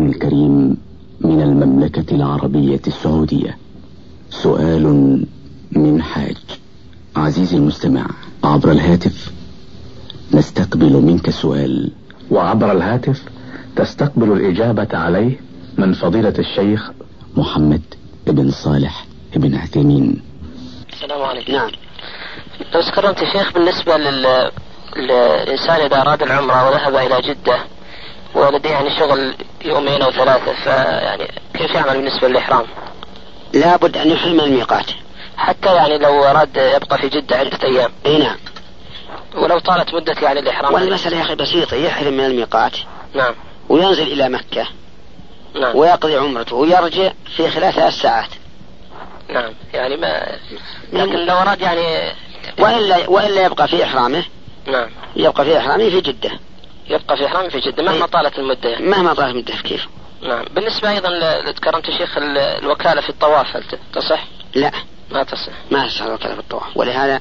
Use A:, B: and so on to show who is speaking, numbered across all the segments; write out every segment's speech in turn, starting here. A: الكريم من المملكة العربية السعودية سؤال من حاج عزيزي المستمع عبر الهاتف نستقبل منك سؤال
B: وعبر الهاتف تستقبل الإجابة عليه من فضيلة الشيخ
A: محمد ابن صالح ابن عثيمين
C: السلام عليكم
D: نعم
C: لو سكرمت يا شيخ بالنسبة لل... للإنسان إذا أراد العمرة وذهب إلى جدة ولديه يعني شغل يومين أو ثلاثة فيعني كيف يعمل بالنسبة للإحرام؟
D: لابد أن يحرم الميقات
C: حتى يعني لو أراد يبقى في جدة عدة أيام
D: أي نعم
C: ولو طالت مدة يعني الإحرام
D: والمسألة يا أخي بسيطة يحرم من الميقات
C: نعم
D: وينزل إلى مكة
C: نعم
D: ويقضي عمرته ويرجع في خلال ثلاث ساعات
C: نعم يعني ما لكن لو أراد يعني
D: وإلا وإلا يبقى في إحرامه
C: نعم
D: يبقى في إحرامه في جدة
C: يبقى في إحرام في جدة مهما
D: إيه.
C: طالت المدة يعني.
D: مهما طالت مدته كيف
C: نعم بالنسبة أيضا ل- تكرمت شيخ ال- الوكالة في الطواف هل ت- تصح؟
D: لا
C: ما تصح
D: ما تشعر في الطواف ولهذا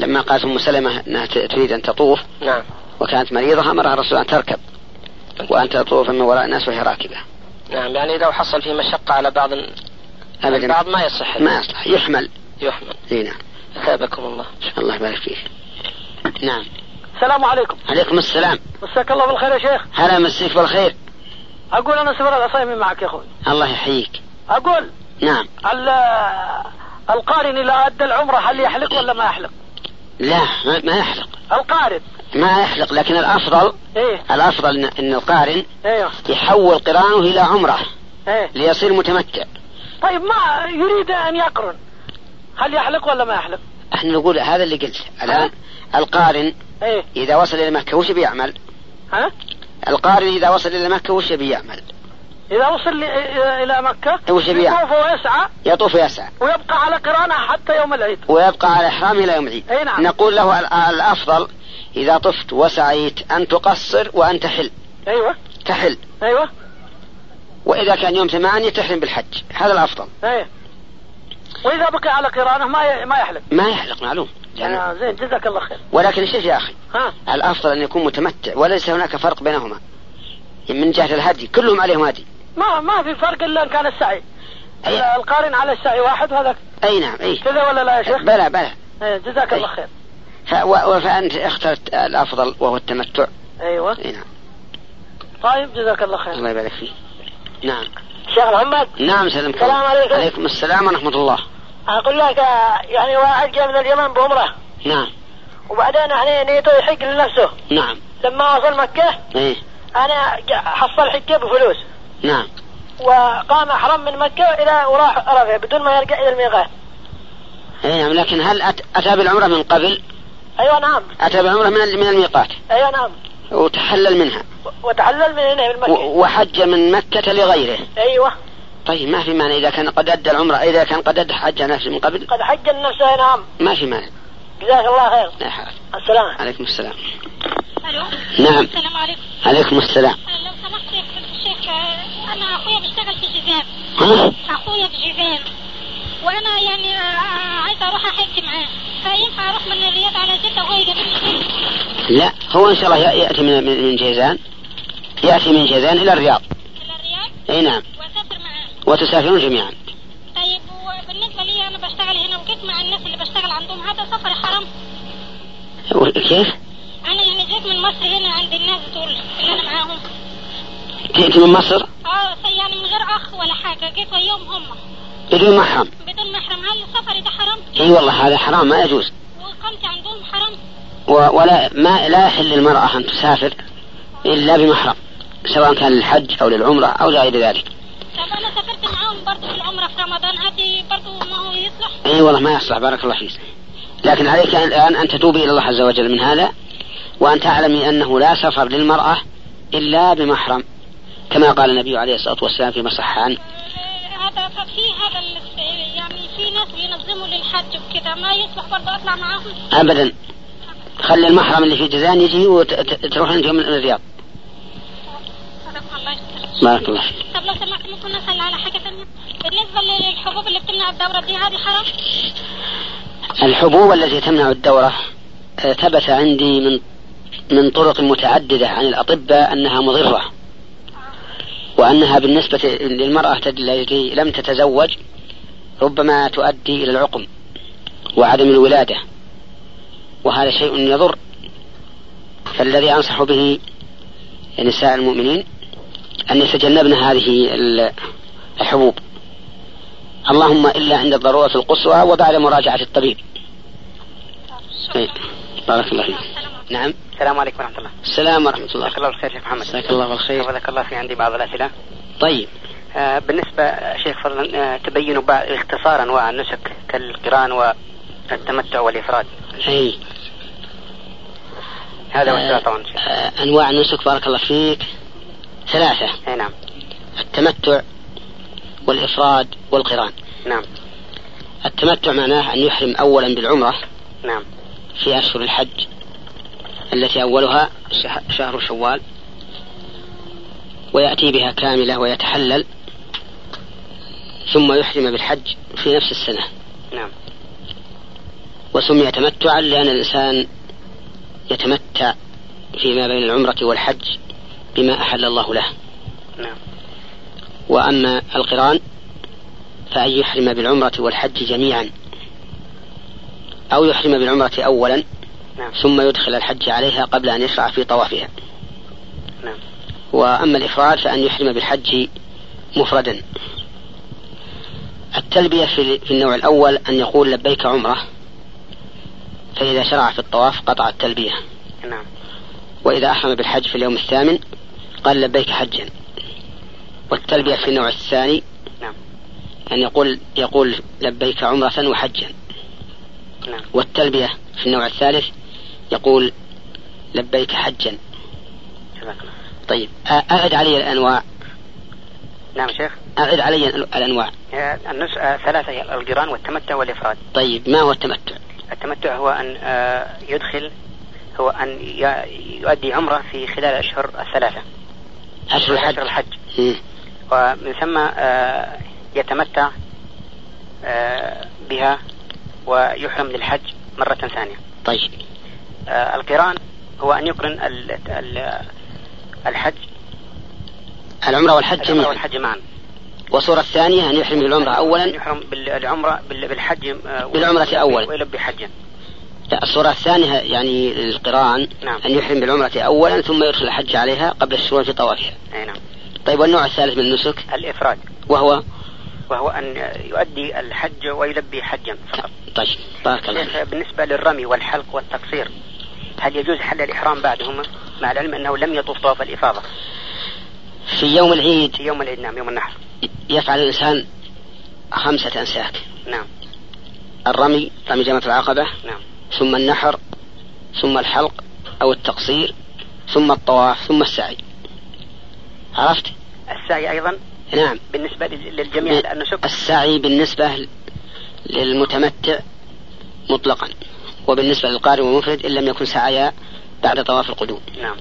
D: لما قالت أم سلمة أنها ت- تريد أن تطوف
C: نعم
D: وكانت مريضة أمرها الرسول أن تركب وأن تطوف من وراء الناس وهي راكبة
C: نعم يعني لو حصل في مشقة على بعض
D: أبدا
C: البعض ما يصح
D: ما يصلح يحمل
C: يحمل
D: اي نعم
C: أثابكم الله
D: الله يبارك فيك نعم
E: السلام عليكم
D: عليكم السلام
E: مساك الله بالخير يا شيخ
D: هلا مسيك بالخير
E: اقول انا سمر العصيمي معك يا اخوي
D: الله يحييك
E: اقول
D: نعم
E: ال- القارن اذا ادى العمره هل يحلق ولا ما يحلق؟
D: لا ما- ما يحلق
E: القارن
D: ما يحلق لكن الافضل
E: ايه
D: الافضل إن- ان القارن
E: ايوه
D: يحول قرانه الى عمره
E: ايه
D: ليصير متمتع
E: طيب ما يريد ان يقرن هل يحلق ولا ما يحلق؟
D: احنا نقول هذا اللي قلته الان
E: أه؟
D: القارن
E: ايه
D: اذا وصل الى مكه وش بيعمل؟
E: ها؟
D: القارن اذا وصل الى مكه وش بيعمل؟
E: اذا وصل لي- إيه- الى مكه
D: وش يبيع؟
E: يطوف ويسعى
D: يطوف ويسعى
E: ويبقى على قرانه حتى يوم العيد
D: ويبقى على إحرامه إلى يوم العيد
E: أي نعم.
D: نقول له ال- الأفضل إذا طفت وسعيت أن تقصر وأن تحل
E: ايوه
D: تحل
E: ايوه
D: وإذا كان يوم ثمانية تحرم بالحج هذا الأفضل
E: ايه واذا بقي على قرانه ما ي- ما يحلق
D: ما يحلق معلوم يعني
E: آه، زين جزاك الله خير
D: ولكن شوف يا أخي
E: ها
D: الأفضل أن يكون متمتع وليس هناك فرق بينهما من جهة الهدي كلهم عليهم هدي
E: ما ما في فرق الا ان كان السعي
D: أي,
E: القارن على السعي واحد وهذاك
D: أي نعم أي
E: كذا ولا لا يا شيخ؟
D: بلى بلى
E: إيه، جزاك الله خير
D: ف- و- فأنت اخترت الأفضل وهو التمتع
E: ايوه
D: أي نعم
E: طيب جزاك الله خير
D: الله يبارك فيك نعم
E: شيخ محمد
D: نعم سلمك
E: السلام عليكم.
D: عليكم السلام ورحمة الله
E: اقول لك آه، يعني واحد جاء من اليمن بعمره
D: نعم
E: وبعدين يعني نيته يحج لنفسه
D: نعم
E: لما وصل مكه
D: ايه
E: انا جا- حصل حجه بفلوس
D: نعم
E: وقام احرم من مكه الى وراح عرفه بدون ما يرجع الى الميقات
D: اي نعم لكن هل أت- اتى بالعمره من قبل؟
E: ايوه نعم
D: اتى بالعمره من ال- من الميقات
E: ايوه نعم
D: وتحلل منها
E: و- وتحلل من هنا من مكه
D: و- وحج من مكه لغيره.
E: ايوه
D: طيب ما في مانع اذا كان قد ادى العمره اذا كان قد ادى حج عن نفسه من قبل
E: قد حج لنفسه نعم
D: ما في مانع.
E: جزاك الله خير
D: لا حرج.
E: السلام
D: عليكم السلام.
F: الو
D: نعم
F: السلام عليكم
D: عليكم السلام.
F: لو سمحت يا فضيلة الشيخ آه، انا اخويا بيشتغل في جزام
D: ها؟
F: اخويا في جزام وانا يعني آه، عايزه اروح احج معاه فينفع اروح من الرياض على جده وهو يقابلني
D: لا هو ان شاء الله ي- ياتي من من من جيزان ياتي من جيزان الى الرياض.
F: الى الرياض
D: اي نعم
F: واسافر معاه
D: وتسافرون جميعا.
F: طيب وبالنسبه لي انا بشتغل هنا وجيت مع الناس اللي بشتغل عندهم هذا سفر حرام
D: و- كيف؟
F: انا يعني جيت من مصر هنا عند الناس دول اللي انا معاهم
D: جئت من مصر
F: اه يعني من غير اخ ولا حاجه جيت ويوم هم
D: بدون محرم.
F: بدون محرم هل السفر ده حرام
D: اي والله هذا حرام ما يجوز.
F: واقامتي عندهم حرام
D: و- ولا ما لا يحل للمرأة أن تسافر إلا بمحرم سواء كان للحج أو للعمرة أو لغير ذلك
F: طب انا سافرت معاهم برضه في العمره في رمضان هذه برضه ما هو يصلح
D: أي والله ما يصلح بارك الله فيك لكن عليك الآن أن تتوبي إلى الله عز وجل من هذا وأن تعلمي أنه لا سفر للمرأة إلا بمحرم كما قال النبي عليه الصلاة والسلام فيما صح عنه
F: آه، هذا طب في هذا ال- يعني في ناس بينظموا للحج وكذا ما يصلح برضه اطلع معاهم
D: أبدا خلي المحرم اللي في جزان يجي وتروح أنت من الرياض
F: صدق الله يستر.
D: بارك الله فيك
F: طب لو سمحت ممكن نسال على حاجه ثانيه بالنسبه للحبوب اللي بتمنع الدوره دي هذه حرام
D: الحبوب التي تمنع الدورة آه، ثبت عندي من من طرق متعددة عن الأطباء أنها مضرة وأنها بالنسبة للمرأة التي لم تتزوج ربما تؤدي إلى العقم وعدم الولادة وهذا شيء يضر فالذي أنصح به نساء المؤمنين أن يتجنبن هذه ال- الحبوب اللهم إلا عند الضرورة القصوى وبعد مراجعة الطبيب إيه. بارك الله فيك نعم
E: السلام عليكم ورحمه الله
D: السلام ورحمة الله
E: جزاك الله بالخير شيخ محمد
D: جزاك الله بالخير
E: جزاك الله في عندي بعض الاسئله
D: طيب
E: آه، بالنسبة آه، شيخ فضلا آه، تبين بع- باختصار أنواع النسك كالقران والتمتع والإفراد
D: أي
E: هذا هو
D: آه،
E: السؤال طبعا شيخ
D: آه، أنواع النسك بارك الله فيك ثلاثة
E: أي نعم
D: التمتع والإفراد والقران
E: نعم
D: التمتع معناه أن يحرم أولا بالعمرة
E: نعم
D: في أشهر الحج التي أولها شه- شهر شوال ويأتي بها كاملة ويتحلل ثم يحرم بالحج في نفس السنة
E: نعم
D: وسمي تمتعا لأن الإنسان يتمتع فيما بين العمرة والحج بما أحل الله له
E: نعم
D: وأما القران فأن يحرم بالعمرة والحج جميعا أو يحرم بالعمرة أولا
E: نعم
D: ثم يدخل الحج عليها قبل أن يشرع في طوافها
E: نعم
D: وأما الإفراد فأن يحرم بالحج مفردا التلبية في في النوع الأول أن يقول لبيك عمرة فإذا شرع في الطواف قطع التلبية
E: نعم
D: وإذا أحرم بالحج في اليوم الثامن قال لبيك حجا والتلبية في النوع الثاني
E: نعم.
D: أن يقول يقول لبيك عمرة وحجا
E: نعم
D: والتلبية في النوع الثالث يقول لبيك حجا
E: جزاك الله
D: طيب أ- أعد علي الأنواع
E: نعم شيخ
D: أعد علي ال- الأنواع
E: آه، النسك آه، ثلاثة هي القران والتمتع والإفراد
D: طيب ما هو التمتع
E: التمتع هو أن آه، يدخل هو أن ي- يؤدي عمرة في خلال الأشهر الثلاثة
D: أشهر الحج
E: أشهر الحج
D: مم.
E: ومن ثم آه، يتمتع آه، بها ويحرم للحج مرة ثانية
D: طيب
E: آه، القران هو أن يقرن ال- ال- الحج
D: العمرة والحج
E: العمرة
D: جميعا
E: والحج معا
D: والصورة الثانية أن يحرم بالعمرة
E: أن
D: أولا
E: يحرم بالعمرة بال- بالحج آه،
D: بالعمرة
E: ويلبي-
D: أولا.
E: ويلبي حجا
D: لا الصورة الثانية يعني للقران
E: نعم.
D: أن يحرم بالعمرة أولا ثم يدخل الحج عليها قبل الشروع في طوافها
E: أي نعم
D: طيب والنوع الثالث من النسك
E: الإفراد
D: وهو
E: وهو أن يؤدي الحج ويلبي حجا فقط
D: طيب بارك الله
E: شيخ
D: فيك.
E: بالنسبة للرمي والحلق والتقصير هل يجوز حل الإحرام بعدهما مع العلم أنه لم يطوف طواف الإفاضة
D: في يوم العيد
E: في يوم العيد نعم يوم النحر
D: يفعل الإنسان خمسة أنساك
E: نعم
D: الرمي رمي جمرة العقبة
E: نعم
D: ثم النحر ثم الحلق أو التقصير ثم الطواف ثم السعي عرفت؟
E: السعي أيضا
D: نعم
E: بالنسبة لل- للجميع لأنه شك
D: السعي بالنسبة للمتمتع مطلقا وبالنسبة للقارئ والمفرد إن لم يكن سعيا بعد طواف القدوم
E: نعم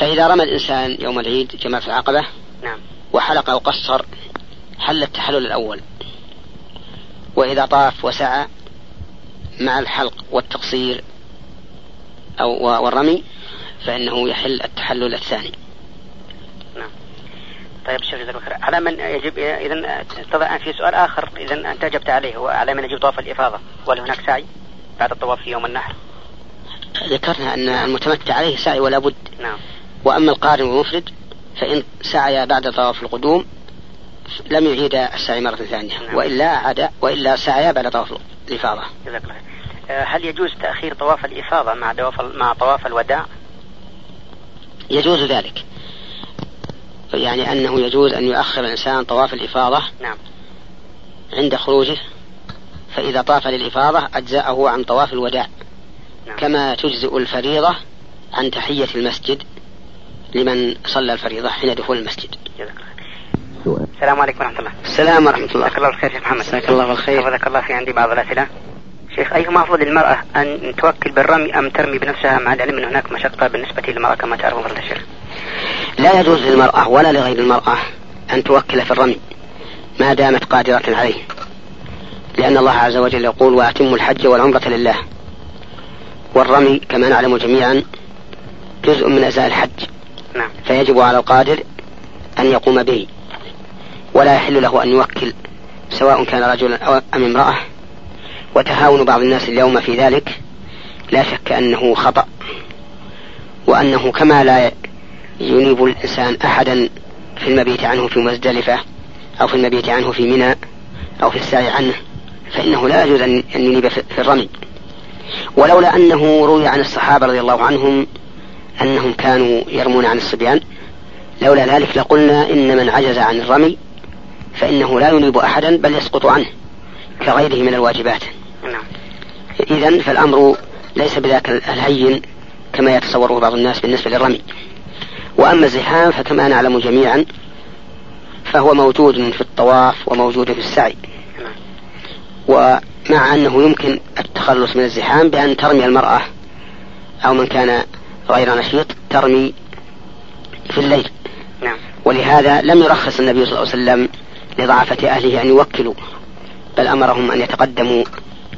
D: فإذا رمى الإنسان يوم العيد جمرة العقبة
E: نعم
D: وحلق أو قصر حل التحلل الأول وإذا طاف وسعى مع الحلق والتقصير أو و- والرمي فإنه يحل التحلل الثاني
E: طيب شيخ جزاك الله خير على من يجب إذا تضع في سؤال آخر إذا أنت أجبت عليه هو على من يجب طواف الإفاضة وهل هناك سعي بعد الطواف في يوم النحر
D: ذكرنا أن المتمتع عليه سعي ولا بد
E: نعم
D: وأما القارن والمفرد فإن سعي بعد طواف القدوم لم يعيد السعي مرة ثانية
E: نعم.
D: وإلا عاد وإلا سعي بعد طواف الإفاضة
E: جزاك الله خير آه، هل يجوز تأخير طواف الإفاضة مع طواف مع طواف الوداع؟
D: يجوز ذلك يعني أنه يجوز أن يؤخر الإنسان طواف الإفاضة
E: نعم
D: عند خروجه فإذا طاف للإفاضة أجزأه عن طواف الوداع
E: نعم
D: كما تجزئ الفريضة عن تحية المسجد لمن صلى الفريضة حين دخول المسجد
E: جزاك الله خير
G: سؤال
E: السلام عليكم ورحمة الله
D: السلام ورحمة الله
E: جزاك الله بالخير شيخ محمد
D: جزاك الله بالخير.
E: جزاك الله في عندي بعض الأسئلة شيخ أيهما أفضل للمرأة أن توكل بالرمي أم ترمي بنفسها مع العلم أن هناك مشقة بالنسبة للمرأة كما تعرف فضل الشيخ
D: لا يجوز للمرأة ولا لغير المرأة أن توكل في الرمي ما دامت قادرة عليه لأن الله عز وجل يقول وأتموا الحج والعمرة لله والرمي كما نعلم جميعا جزء من أزاء الحج
E: نعم
D: فيجب على القادر أن يقوم به ولا يحل له أن يوكل سواء كان رجلا أو أم امرأة وتهاون بعض الناس اليوم في ذلك لا شك أنه خطأ وأنه كما لا ينيب الإنسان أحدا في المبيت عنه في مزدلفة أو في المبيت عنه في منى أو في السعي عنه فإنه لا يجوز أن أن ينيب في في الرمي ولولا أنه روي عن الصحابة رضي الله عنهم أنهم كانوا يرمون عن الصبيان لولا ذلك لقلنا إن من عجز عن الرمي فإنه لا ينيب أحدا بل يسقط عنه كغيره من الواجبات
C: نعم
D: إذا فالأمر ليس بذاك الهين كما يتصوره بعض الناس بالنسبة للرمي وأما الزحام فكما نعلم جميعا فهو موجود في الطواف وموجود في السعي
C: نعم.
D: ومع أنه يمكن التخلص من الزحام بأن ترمي المرأة أو من كان غير نشيط ترمي في الليل
C: نعم
D: ولهذا لم يرخص النبي صلى الله عليه وسلم لضعفة أهله أن يوكلوا بل أمرهم أن يتقدموا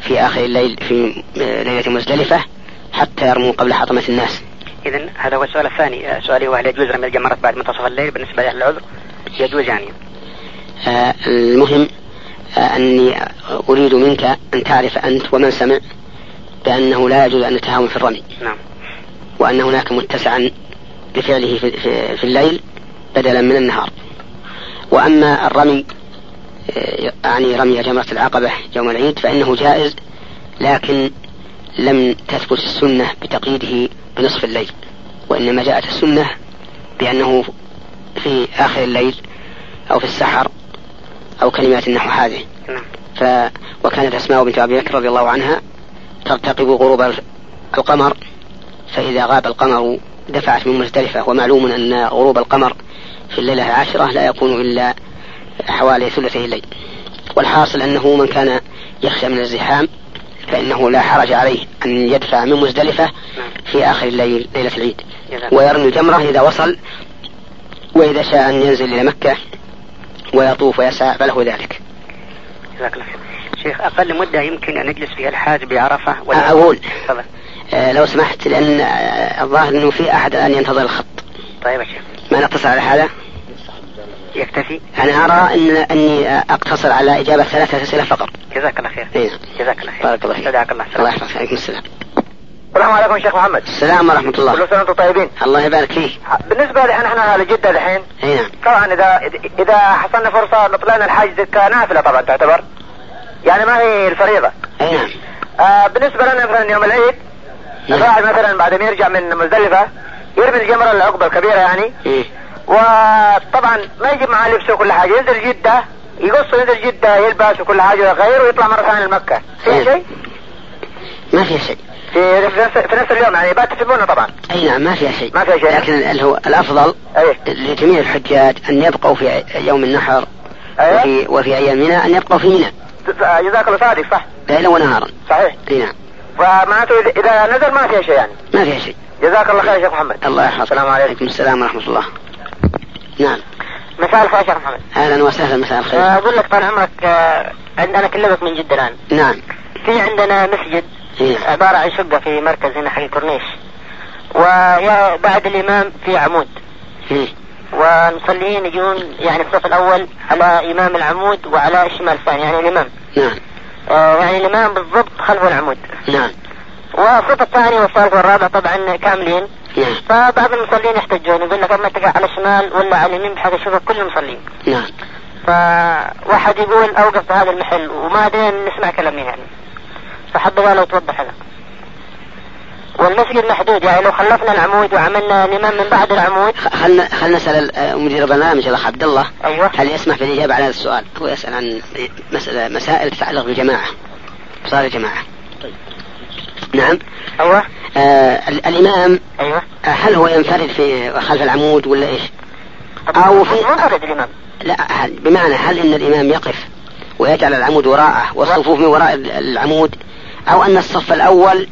D: في آخر الليل في آه، ليلة مزدلفة حتى يرموا قبل حطمة الناس
C: اذا هذا هو السؤال الثاني آه، سؤالي هو هل يجوز رمي الجمرات بعد منتصف الليل بالنسبه لاهل العذر؟ يجوز يعني
D: آه، المهم آه، أني أريد منك أن تعرف أنت ومن سمع بأنه لا يجوز أن نتهاون في الرمي
C: نعم
D: وأن هناك متسعا بفعله في, في, في الليل بدلا من النهار وأما الرمي آه، يعني رمي جمرة العقبة يوم العيد فإنه جائز لكن لم تثبت السنة بتقييده بنصف الليل وإنما جاءت السنة بأنه في آخر الليل أو في السحر أو كلمات نحو هذه
C: نعم
D: ف... وكانت أسماء بنت أبي بكر رضي الله عنها ترتقب غروب ال- القمر فإذا غاب القمر دفعت من مزدلفة ومعلوم أن غروب القمر في الليلة العاشرة لا يكون إلا حوالي ثلثي الليل والحاصل أنه من كان يخشى من الزحام فإنه لا حرج عليه أن يدفع من مزدلفة
C: نعم
D: في آخر الليل ليلة العيد
C: جزاك الله.
D: ويرمي الجمرة إذا وصل وإذا شاء أن ينزل إلى مكة ويطوف ويسعى فله ذلك
C: جزاك الله خير. شيخ اقل مده يمكن ان نجلس فيها الحاج بعرفه ولا
D: أقول
C: تفضل
D: آه، لو سمحت لأن آه، الظاهر أنه في أحد الآن ينتظر الخط
C: طيب يا شيخ
D: ما نقتصر على هذا
C: يكتفي
D: أنا أرى أن أني آه، أقتصر على إجابة ثلاثة أسئلة فقط
C: جزاك الله خير
D: إيه.
C: جزاك الله خير
D: بارك الله فيك
C: جزاك الله
D: الله
C: خير
D: يحفظك عليكم السلام
E: السلام عليكم يا شيخ محمد
D: السلام ورحمة
E: كل
D: الله
E: سنه وانتم طيبين
D: الله يبارك فيك
E: بالنسبه لان احنا لجده الحين
D: أي نعم
E: طبعا اذا اذا حصلنا فرصه نطلعنا الحج كنافله طبعا تعتبر يعني ما هي الفريضه
D: أي نعم
E: آه بالنسبه لنا مثلا يوم العيد
D: نعم
E: الواحد مثلا بعد ما يرجع من مزدلفه يرمي الجمره العقبه الكبيره يعني
D: إيه.
E: وطبعا ما يجيب معاه لبسه وكل حاجه ينزل جده يقص ينزل جده يلبس وكل حاجه ويغير ويطلع مره ثانيه لمكه في
D: إيه.
E: شيء؟
D: ما فيها شيء
E: في في نفس, في نفس اليوم يعني بات في بونه طبعا
D: أي نعم ما فيها شيء
E: ما فيها شيء.
D: لكن ال- هو الأفضل
E: ايه
D: لجميع الحجاج أن يبقوا في يوم النحر
E: ايه
D: وفي, وفي أيام منى أن يبقوا في منى
E: جزاك الله صادق صح
D: ليلا ونهارا
E: صحيح
D: أي إيه، نعم
E: فمعناته إذا- اذا نزل ما فيها شيء يعني
D: ما فيها شيء
E: جزاك الله خير يا شيخ محمد
D: الله يحفظك
E: السلام عليكم
D: عليكم السلام ورحمة الله نعم
E: مساء الخير يا شيخ محمد
D: أهلا وسهلا مساء الخير
E: آه، اقول لك طال عمرك آه، عند- انا اكلمك من جده الان
D: نعم
E: في عندنا مسجد
D: إيه.
E: عباره عن شقه في مركز هنا حق الكورنيش و- وبعد الامام في عمود
D: إيه.
E: والمصلين يجون يعني الصف الاول على امام العمود وعلى الشمال الثاني يعني الامام
D: نعم
E: آه، يعني الامام بالضبط خلف العمود
D: نعم
E: والصف الثاني والثالث والرابع طبعا كاملين
D: نعم
E: فبعض المصلين يحتجون يقول لك اما تقع على الشمال ولا على اليمين بحيث يشوفك كل المصلين
D: نعم
E: فواحد يقول اوقف في هذا المحل وما ادري نسمع كلام مين يعني فحبذا لو توضح لنا والمسجد محدود يعني لو خلفنا العمود وعملنا الامام من بعد العمود
D: خ- خلنا خلنا نسأل آه، مدير البرنامج الأخ عبد الله
E: ايوه
D: هل يسمح بالإجابة على هذا السؤال؟ هو يسأل عن مسألة مسائل تتعلق بالجماعة صلاة الجماعة نعم
E: ايوه
D: آه ال- الإمام
E: ايوه
D: آه، هل هو ينفرد في خلف العمود ولا إيش؟ أو في-
E: منفرد الامام
D: لا هل بمعنى هل ان الامام يقف ويجعل العمود وراءه والصفوف من وراء ال- العمود او ان الصف الاول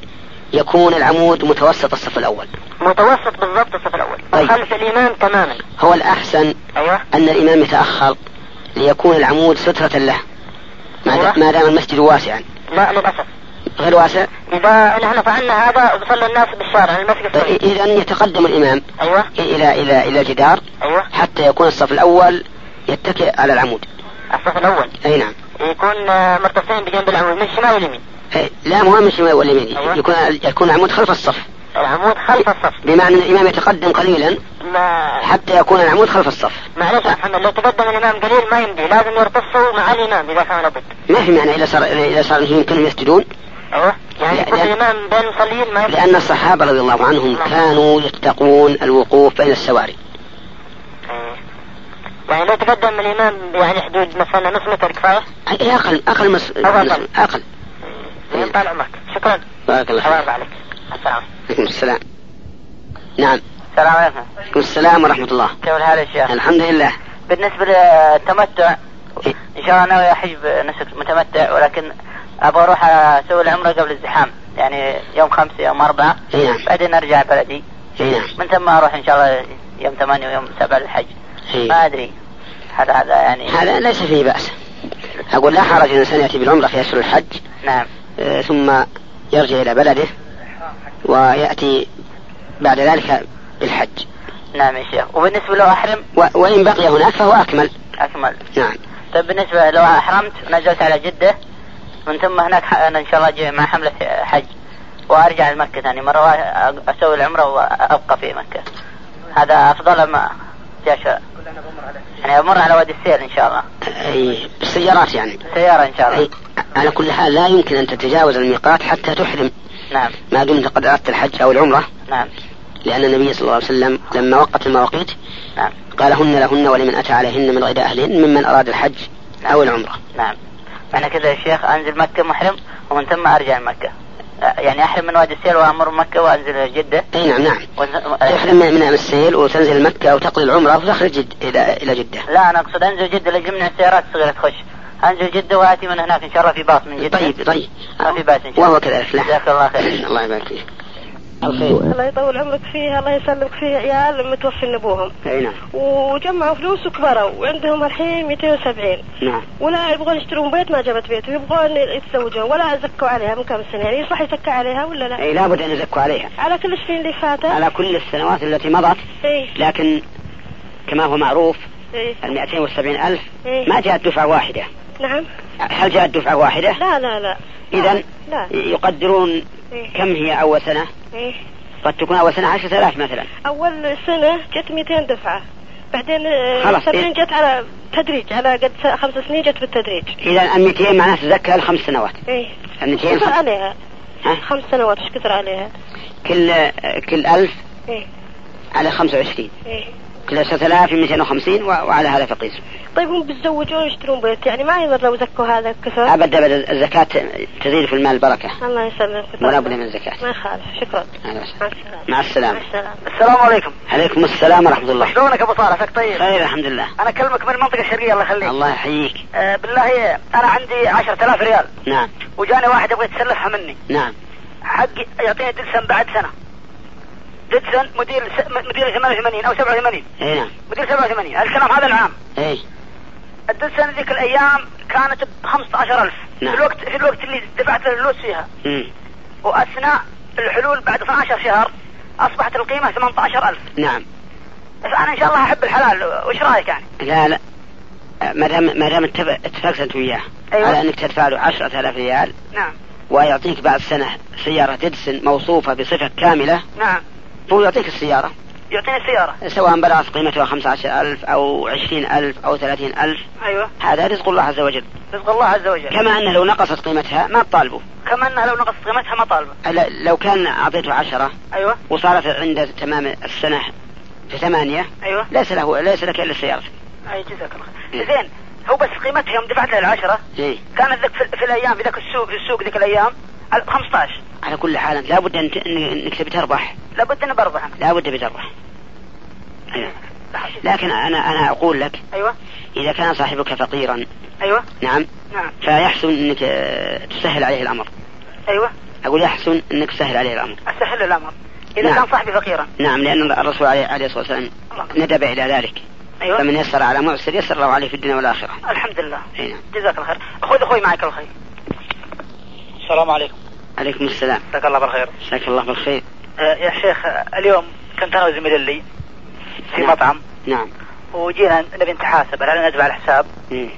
D: يكون العمود متوسط الصف الاول
E: متوسط بالضبط الصف الاول
D: طيب.
E: وخلف الامام تماما
D: هو الاحسن
E: ايوه
D: ان الامام يتاخر ليكون العمود ستره له ما,
E: أيوة.
D: ما دام المسجد واسعا
E: لا للاسف
D: غير واسع
E: إذا نحن فعلنا هذا بصلي الناس بالشارع
D: طيب.
E: المسجد صحيح.
D: إذا يتقدم الإمام
E: أيوه
D: إلى إلى إلى الجدار
E: أيوه
D: حتى يكون الصف الأول يتكئ على العمود
E: الصف الأول
D: أي نعم
E: يكون آه، مرتصين بجنب العمود من الشمال واليمين
D: أي- إيه، لا مو من الشمال
E: أيوة.
D: واليمين يكون يكون العمود خلف الصف
E: العمود خلف الصف
D: بمعنى أن الإمام يتقدم قليلا
E: ما
D: حتى يكون العمود خلف الصف
E: معلش يا محمد لو تقدم الإمام قليل ما يمدي لازم يرتصوا مع الإمام إذا كان لابد
D: ما في معنى إذا صار إذا صار إنهم يمكنهم يسجدون
E: أيوه يعني
D: لا-
E: يكون
D: لا.
E: الإمام بين المصلين ما يمدي
D: لأن الصحابة رضي الله عنهم كانوا يتقون الوقوف بين السواري
E: أيوه. يعني لو تقدم الإمام يعني حدود مثلا نص متر كفاية
D: أي أقل أقل مس...
E: أقل.
D: مس- أقل
E: زين، إيه، طال عمرك شكرا
D: بارك الله
E: الله
D: فيك
E: عليك السلام
D: عليكم السلام نعم
E: السلام عليكم
D: عليكم السلام ورحمة الله
E: كيف الحال يا شيخ؟
D: الحمد لله إيه.
E: بالنسبة للتمتع ان شاء الله ناوي احج نسك متمتع ولكن ابغى اروح اسوي العمره قبل الزحام يعني يوم خمسه يوم اربعه
D: أي نعم
E: بعدين ارجع بلدي
D: أي نعم
E: من ثم اروح ان شاء الله يوم ثمانيه ويوم سبعه للحج
D: أي.
E: ما ادري هذا هذا يعني
D: هذا ليس فيه بأس أقول لا حرج إن الإنسان يأتي بالعمرة في أشهر الحج
E: نعم
D: آه، ثم يرجع إلى بلده ويأتي بعد ذلك بالحج
E: نعم يا شيخ وبالنسبه لو احرم
D: و- وإن بقي هناك فهو أكمل
E: اكمل
D: نعم
E: طيب بالنسبه لو احرمت ونزلت على جده من ثم هناك ح- انا ان شاء الله أجي مع حمله حج وارجع لمكه ثاني مره وأ- اسوي العمره وابقى في مكه هذا افضل ما جاشا يعني امر على وادي السيل ان شاء الله
D: أي بالسيارات يعني
E: سياره ان شاء
D: أي
E: الله
D: على كل حال لا يمكن أن تتجاوز الميقات حتى تحرم
E: نعم
D: ما دمت قد أردت الحج أو العمرة
E: نعم
D: لأن النبي صلى الله عليه وسلم لما وقت المواقيت
E: نعم
D: قال هن لهن ولمن أتى عليهن من غير أهلهن ممن أراد الحج أو العمرة
E: نعم معنى كذا يا شيخ انزل مكه محرم ومن ثم ارجع لمكه أ- يعني احرم من وادي السيل وامر مكه وانزل جده
D: أي نعم نعم
E: ون-
D: تحرم من السيل وتنزل مكة وتقضي العمرة وتخرج جد إلى إلى جدة
E: لا انا اقصد انزل جده لجمع السيارات الصغيره تخش انزل جده واتي من هناك ان شاء الله في باص من جده
D: طيب طيب
E: ما في باس ان شاء الله
D: وهو كذلك لا
E: جزاك الله خير
D: الله يبارك فيك
A: الدعاء
H: الله يطول عمرك فيها الله يسلمك فيها عيال متوفين ابوهم
D: أي نعم
H: وجمعوا فلوس وكبروا وعندهم الحين 270
D: نعم
H: ولا يبغون يشترون بيت ما جابت بيت ويبغون يتزوجون ولا زكوا عليها من كم سنه يعني يصلح يزكى عليها ولا لا؟
D: أي لابد أن يزكوا عليها
H: على كل السنين اللي فاتت
D: على كل السنوات التي مضت
H: اي
D: لكن كما هو معروف
H: اي
D: ال 270 ألف
H: إيه.
D: ما جاءت دفعة واحدة
H: نعم
D: هل جاءت دفعة واحدة؟
H: لا لا لا
D: إذا
H: لا
D: يقدرون
H: إيه.
D: كم هي أول سنة؟
H: إيه.
D: قد تكون أول سنة 10000 مثلا
H: اول سنه جت 200 دفعه بعدين آه،
D: خلاص،
H: 70
D: إيه.
H: جت على تدريج على قد س- خمس سنين جت بالتدريج
D: إذا ال 200 معناها تزكى الخمس سنوات
H: اي
D: ال 200
H: كثر
D: خمس-
H: عليها
D: ها؟
H: خمس سنوات ايش كثر عليها؟
D: كل كل 1000
H: ايه
D: على 25
H: ايه
D: كل 6000 250 و- وعلى هذا فقيس
H: طيب هم بيتزوجون ويشترون بيت يعني ما يضر لو زكوا هذا كثر
D: أبدا أبدا الزكاة تزيد في المال البركة
H: الله يسلمك
D: ولا بد من الزكاة
H: ما يخالف شكرا
D: أهلا وسهلا.
H: مع السلامه
D: مع السلامة
H: مع السلامه
E: السلام عليكم
D: عليكم السلام ورحمة الله
E: شلونك ابو صالح عساك طيب
D: خير الحمد لله
E: انا اكلمك من المنطقه الشرقيه الله يخليك
D: الله يحييك
E: آه بالله انا عندي 10000 ريال
D: نعم
E: وجاني واحد يبغى يتسلفها مني
D: نعم
E: حقي يعطيني دلسن بعد سنه دلسن مدير س... مدير 88 او 87
D: اي نعم إيه.
E: مدير 87 الكلام هذا العام
D: اي
E: الدلسن ذيك الايام كانت ب 15000
D: نعم.
E: في الوقت في الوقت اللي دفعت الفلوس فيها
D: مم.
E: واثناء الحلول بعد 12 شهر اصبحت القيمه 18000
D: نعم
E: فانا ان شاء الله احب الحلال وش رايك يعني؟
D: لا لا ما دام ما دام اتفق- اتفقت انت وياه
E: أيوة.
D: على انك تدفع له 10000 ريال
E: نعم
D: ويعطيك بعد سنه سياره ديدسن موصوفه بصفه كامله
E: نعم
D: هو يعطيك السياره
E: يعطيني السياره
D: سواء بلغت قيمتها 15000 او 20000 او 30000
E: ايوه
D: هذا رزق الله عز وجل
E: رزق الله عز وجل
D: كما انه لو نقصت قيمتها ما تطالبه
E: كما انها لو نقصت قيمتها ما طالبه
D: ألا- لو كان اعطيته عشرة
E: ايوه
D: وصارت عند تمام السنه في ثمانيه
E: ايوه
D: ليس له ليس لك الا السياره
E: اي جزاك الله خير
D: إيه.
E: زين هو بس قيمتها يوم دفعت لها العشرة
D: إيه؟
E: كانت ذاك في, في الايام في ذاك السوق في السوق ذيك الايام على 15
D: على كل حال أنت لابد أن ت- إن- انك تبي تربح
E: لابد اني بربح انا
D: لابد بتربح أيوة.
E: لا-
D: لكن انا انا اقول لك
E: ايوه
D: اذا كان صاحبك فقيرا
I: أيوة.
E: ايوه
D: نعم
E: نعم
D: فيحسن انك آه، تسهل عليه الامر
E: ايوه
D: اقول يحسن انك تسهل عليه الامر
E: اسهل له الامر اذا
D: نعم.
E: كان صاحبي فقيرا
D: نعم لان الرسول عليه, عليه الصلاه والسلام
E: الله.
D: ندب الى ذلك
E: ايوه
D: فمن يسر على معسر يسر الله عليه في الدنيا والاخره
E: الحمد لله
D: اي نعم
E: جزاك الله خير خذ اخوي معك الخير السلام عليكم
D: عليكم السلام
E: جزاك الله بالخير
D: مساك الله بالخير
E: آه، يا شيخ آه، اليوم كنت انا وزميل لي في
D: نعم.
E: مطعم
D: نعم
E: وجينا نبي نتحاسب هل ندفع الحساب
D: مم.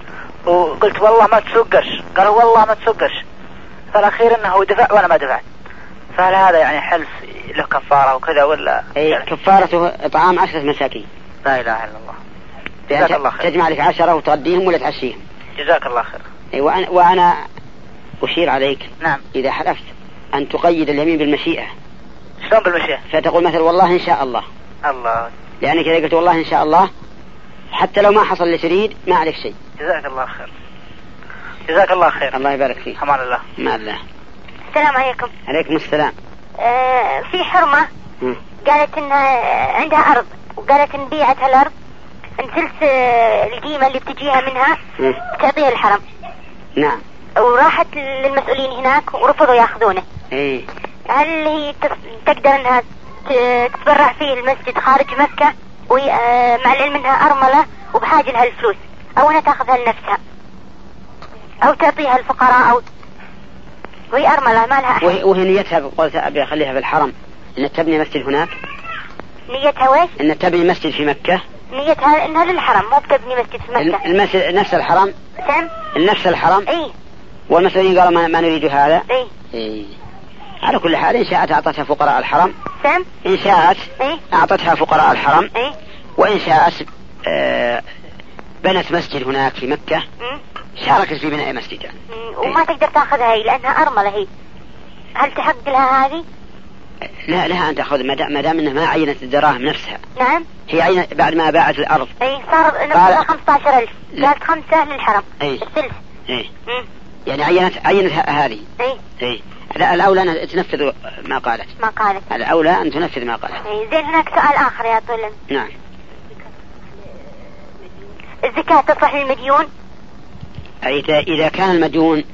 E: وقلت والله ما تسوق قرش قالوا والله ما تسوق قرش فالاخير انه دفع وانا ما دفعت فهل هذا يعني حلف له كفاره وكذا ولا
D: أي كفارته إطعام عشرة مساكين
E: لا اله الا الله
D: بأن
E: جزاك الله خير
D: تجمع لك عشرة وتغديهم ولا تعشيهم
E: جزاك الله خير
D: أي وأنا, وأنا أشير عليك
E: نعم
D: إذا حلفت أن تقيد اليمين بالمشيئة
E: شلون بالمشيئة
D: فتقول مثلا والله إن شاء الله
E: الله
D: لأنك إذا قلت والله إن شاء الله حتى لو ما حصل اللي تريد ما عليك شيء
E: جزاك الله خير جزاك الله خير
D: الله يبارك فيك
E: امان الله
D: مع الله
F: السلام عليكم
D: عليكم السلام
F: آه في حرمة
D: مم.
F: قالت انها آه، عندها ارض وقالت ان بيعت هالارض انسلس آه، القيمة اللي بتجيها منها
D: مم.
F: تعطيها الحرم
D: نعم
F: وراحت للمسؤولين هناك ورفضوا ياخذونه
D: إيه
F: هل هي تف- تقدر انها ت- تتبرع فيه المسجد خارج مكة وهي آه، مع العلم انها ارملة وبحاجة لها الفلوس او انها تاخذها لنفسها او تعطيها الفقراء او وهي ارملة ما لها احد
D: وهي, وهي نيتها قلت أبي أخليها في الحرم إن تبني مسجد هناك
F: نيتها ويش؟
D: إن تبني مسجد في مكة
F: نيتها انها للحرم مو بتبني مسجد في
D: الم-
F: مكة
D: المسجد نفس الحرم
F: سم؟ إيه.
D: نفس الحرم
F: اي
D: والمسؤولين قالوا ما, ما نريد هذا
F: اي
D: إيه. على كل حال إن شاءت أعطتها فقراء الحرم
F: سم؟
D: إن شاءت
F: اي
D: أعطتها فقراء الحرم
F: اي
D: وإن شاءت آه، بنت مسجد هناك في مكة
F: أم،
D: شاركت في بناء مسجد يعني.
F: أم، وما تقدر تاخذها هي لانها ارملة هي هل تحق لها هذه؟
D: لا لها أن تأخذ ما دام ما دام أنها ما عينت الدراهم نفسها
F: نعم إيه،
D: هي عين بعد ما باعت الأرض
F: اي صار نفسها
D: قال-
F: 15000
D: لا.
F: قالت خمسة للحرم
D: أي
F: الثلث
D: إيه.
F: أم،
D: يعني عينت عينت ه- هذه
F: اي
D: إيه. لا الأولى أن تنفذ ما قالت
F: ما قالت
D: الأولى أن تنفذ ما قالت
F: اي زين هناك سؤال اخر يا طويل العمر.
D: نعم
F: الزكاة تصلح للمديون؟
D: أي إذا إذا كان المديون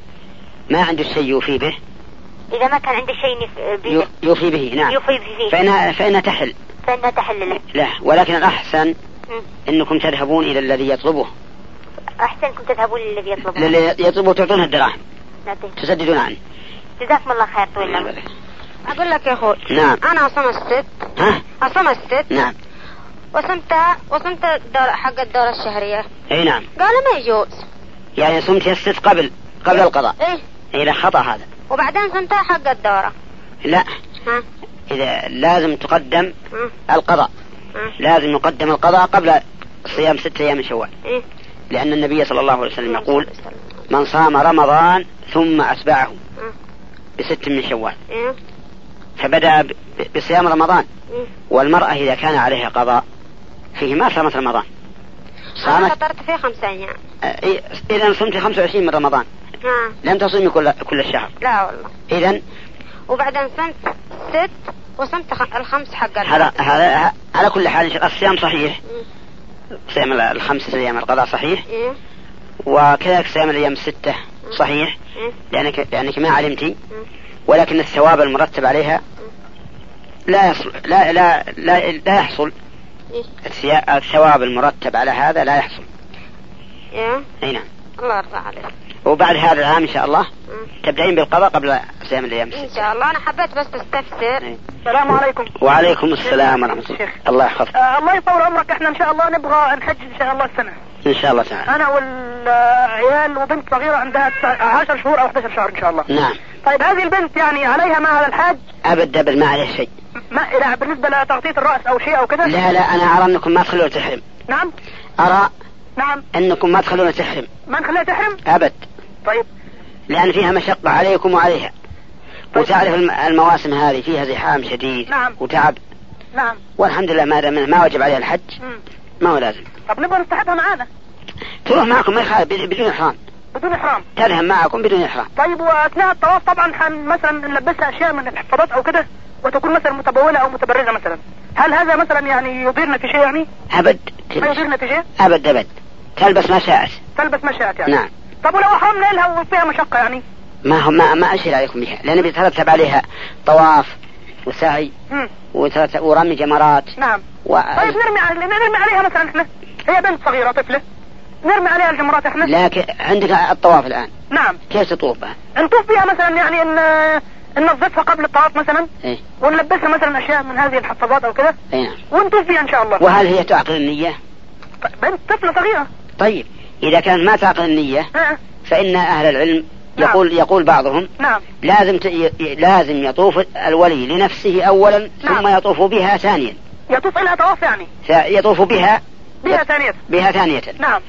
D: ما عنده شيء يوفي به
F: اذا ما كان عنده شيء يف- بي-
D: يو- يوفي به نعم
F: يفيض فيه
D: فإنها فإنها تحل
F: فانها تحل له
D: له ولكن الأحسن
F: أم،
D: أنكم تذهبون إلى الذي يطلبه
F: احسنكم تذهبون للذي يطلبه
D: الذي يطلبه تعطونه الدراهم
F: نعطيه.
D: تسددون عنه
F: جزاكم الله خير طويل العمر
I: أقول لك يا أخوي
D: نعم
I: أنا صمت
D: ها
I: صمت
D: نعم
I: وصمتها وصمت الدورة حق الدورة الشهرية
D: اي نعم
I: قالوا ما يجوز
D: يعني صمت يسد قبل قبل القضاء
I: إيه
D: اي لا خطا هذا
I: وبعدين صمتها حق الدورة
D: لا
I: ها
D: اذا لازم تقدم
I: ها
D: القضاء
I: ها
D: لازم يقدم القضاء قبل صيام ستة ايام من شوال
I: إيه
D: لان النبي صلى الله عليه وسلم يقول من صام رمضان ثم اتبعه
I: مم.
D: بست من شوال
I: إيه
D: فبدا ب- بصيام رمضان
I: إيه
D: والمراه اذا كان عليها قضاء فيه ما صامت رمضان
I: أنا
D: صامت
I: فطرت فيه خمسة أيام
D: اذا صمت 25 من رمضان
I: ها
D: لم تصومي كل كل الشهر
I: لا والله
D: اذا
I: وبعدين صمت ست وصمت خ- الخمس حق
D: هذا
I: الدورة
D: هذا على كل حال الصيام صحيح
I: مم.
D: صيام ال- الخمسة ايام القضاء صحيح
I: إيه
D: وكذلك صيام الايام الستة صحيح
I: إيه
D: لانك لانك ما علمت
I: مم.
D: ولكن الثواب المرتب عليها
I: إيه.
D: لا يصل لا لا لا, لا يحصل
I: إيه.
D: الثيا- الثواب المرتب على هذا لا يحصل
I: إيه
D: اي نعم
I: الله يرضى عليك
D: وبعد هذا العام ان شاء الله
I: مم.
D: تبدأين بالقضاء قبل صيام الايام
I: إن
D: الستة
I: شاء الله أنا حبيت بس أستفسر
E: السلام عليكم
D: وعليكم السلام ورحمة الله الله يحفظك
E: آه الله يطول عمرك احنا ان شاء الله نبغى نحج ان شاء الله السنه
D: ان شاء الله تعالى
E: انا والعيال وبنت صغيره عندها 10 شهور او 11 شهر ان شاء الله
D: نعم
E: طيب هذه البنت يعني عليها ما على الحاج
D: ابد دبل ما عليه شيء
E: ما لا بالنسبه لتغطيه الراس او شيء او كذا
D: لا لا انا ارى انكم ما تخلون تحرم
E: نعم
D: ارى
E: نعم
D: انكم ما تخلون تحرم
E: ما نخليها تحرم
D: ابد
E: طيب
D: لان فيها مشقه عليكم وعليها وتعرف الم- المواسم هذه فيها زحام شديد
E: طيب. نعم.
D: وتعب
E: نعم
D: والحمد لله ما دام ما وجب عليها الحج
E: مم.
D: ما هو لازم
E: طب نبغى نستحبها معانا
D: تروح معكم ما يخالف بد- بدون احرام
E: بدون احرام
D: تذهب معكم بدون احرام
E: طيب واثناء الطواف طبعا حن مثلا نلبسها اشياء من الحفاضات او كده وتكون مثلا متبوله او متبرجه مثلا هل هذا مثلا يعني يضيرنا في شيء يعني؟
D: ابد
E: ما يضيرنا في شيء؟
D: ابد ابد تلبس ما شاءت
E: تلبس ما شاءت يعني
D: نعم
E: طب ولو احرمنا لها وفيها مشقه يعني؟
D: ما هو ما ما اشيل عليكم بها لان بيترتب عليها طواف وسعي
E: مم.
D: وترتب ورمي جمرات
E: نعم
D: و...
E: طيب نرمي عليها نرمي عليها مثلا احنا هي بنت صغيره طفله نرمي عليها الجمرات احنا
D: لكن عندك الطواف الان
E: نعم
D: كيف تطوف بها؟
E: نطوف بها مثلا يعني ان ننظفها قبل الطواف مثلا
D: إيه.
E: ونلبسها مثلا اشياء من هذه الحفاظات او كذا
D: أي نعم
E: ونطوف بها ان شاء الله
D: وهل هي تعقل النية؟
E: بنت آه، طفله صغيره
D: طيب إذا كانت ما تعقل النية
E: ها
D: فإن أهل العلم
E: نعم.
D: يقول يقول بعضهم
E: نعم
D: لازم ت... ي- لازم يطوف الولي لنفسه أولا ثم
E: نعم.
D: يطوف بها ثانيا
E: يطوف لها طواف يعني
D: يطوف بها
E: بها ثانيه
D: بها ثانية
E: نعم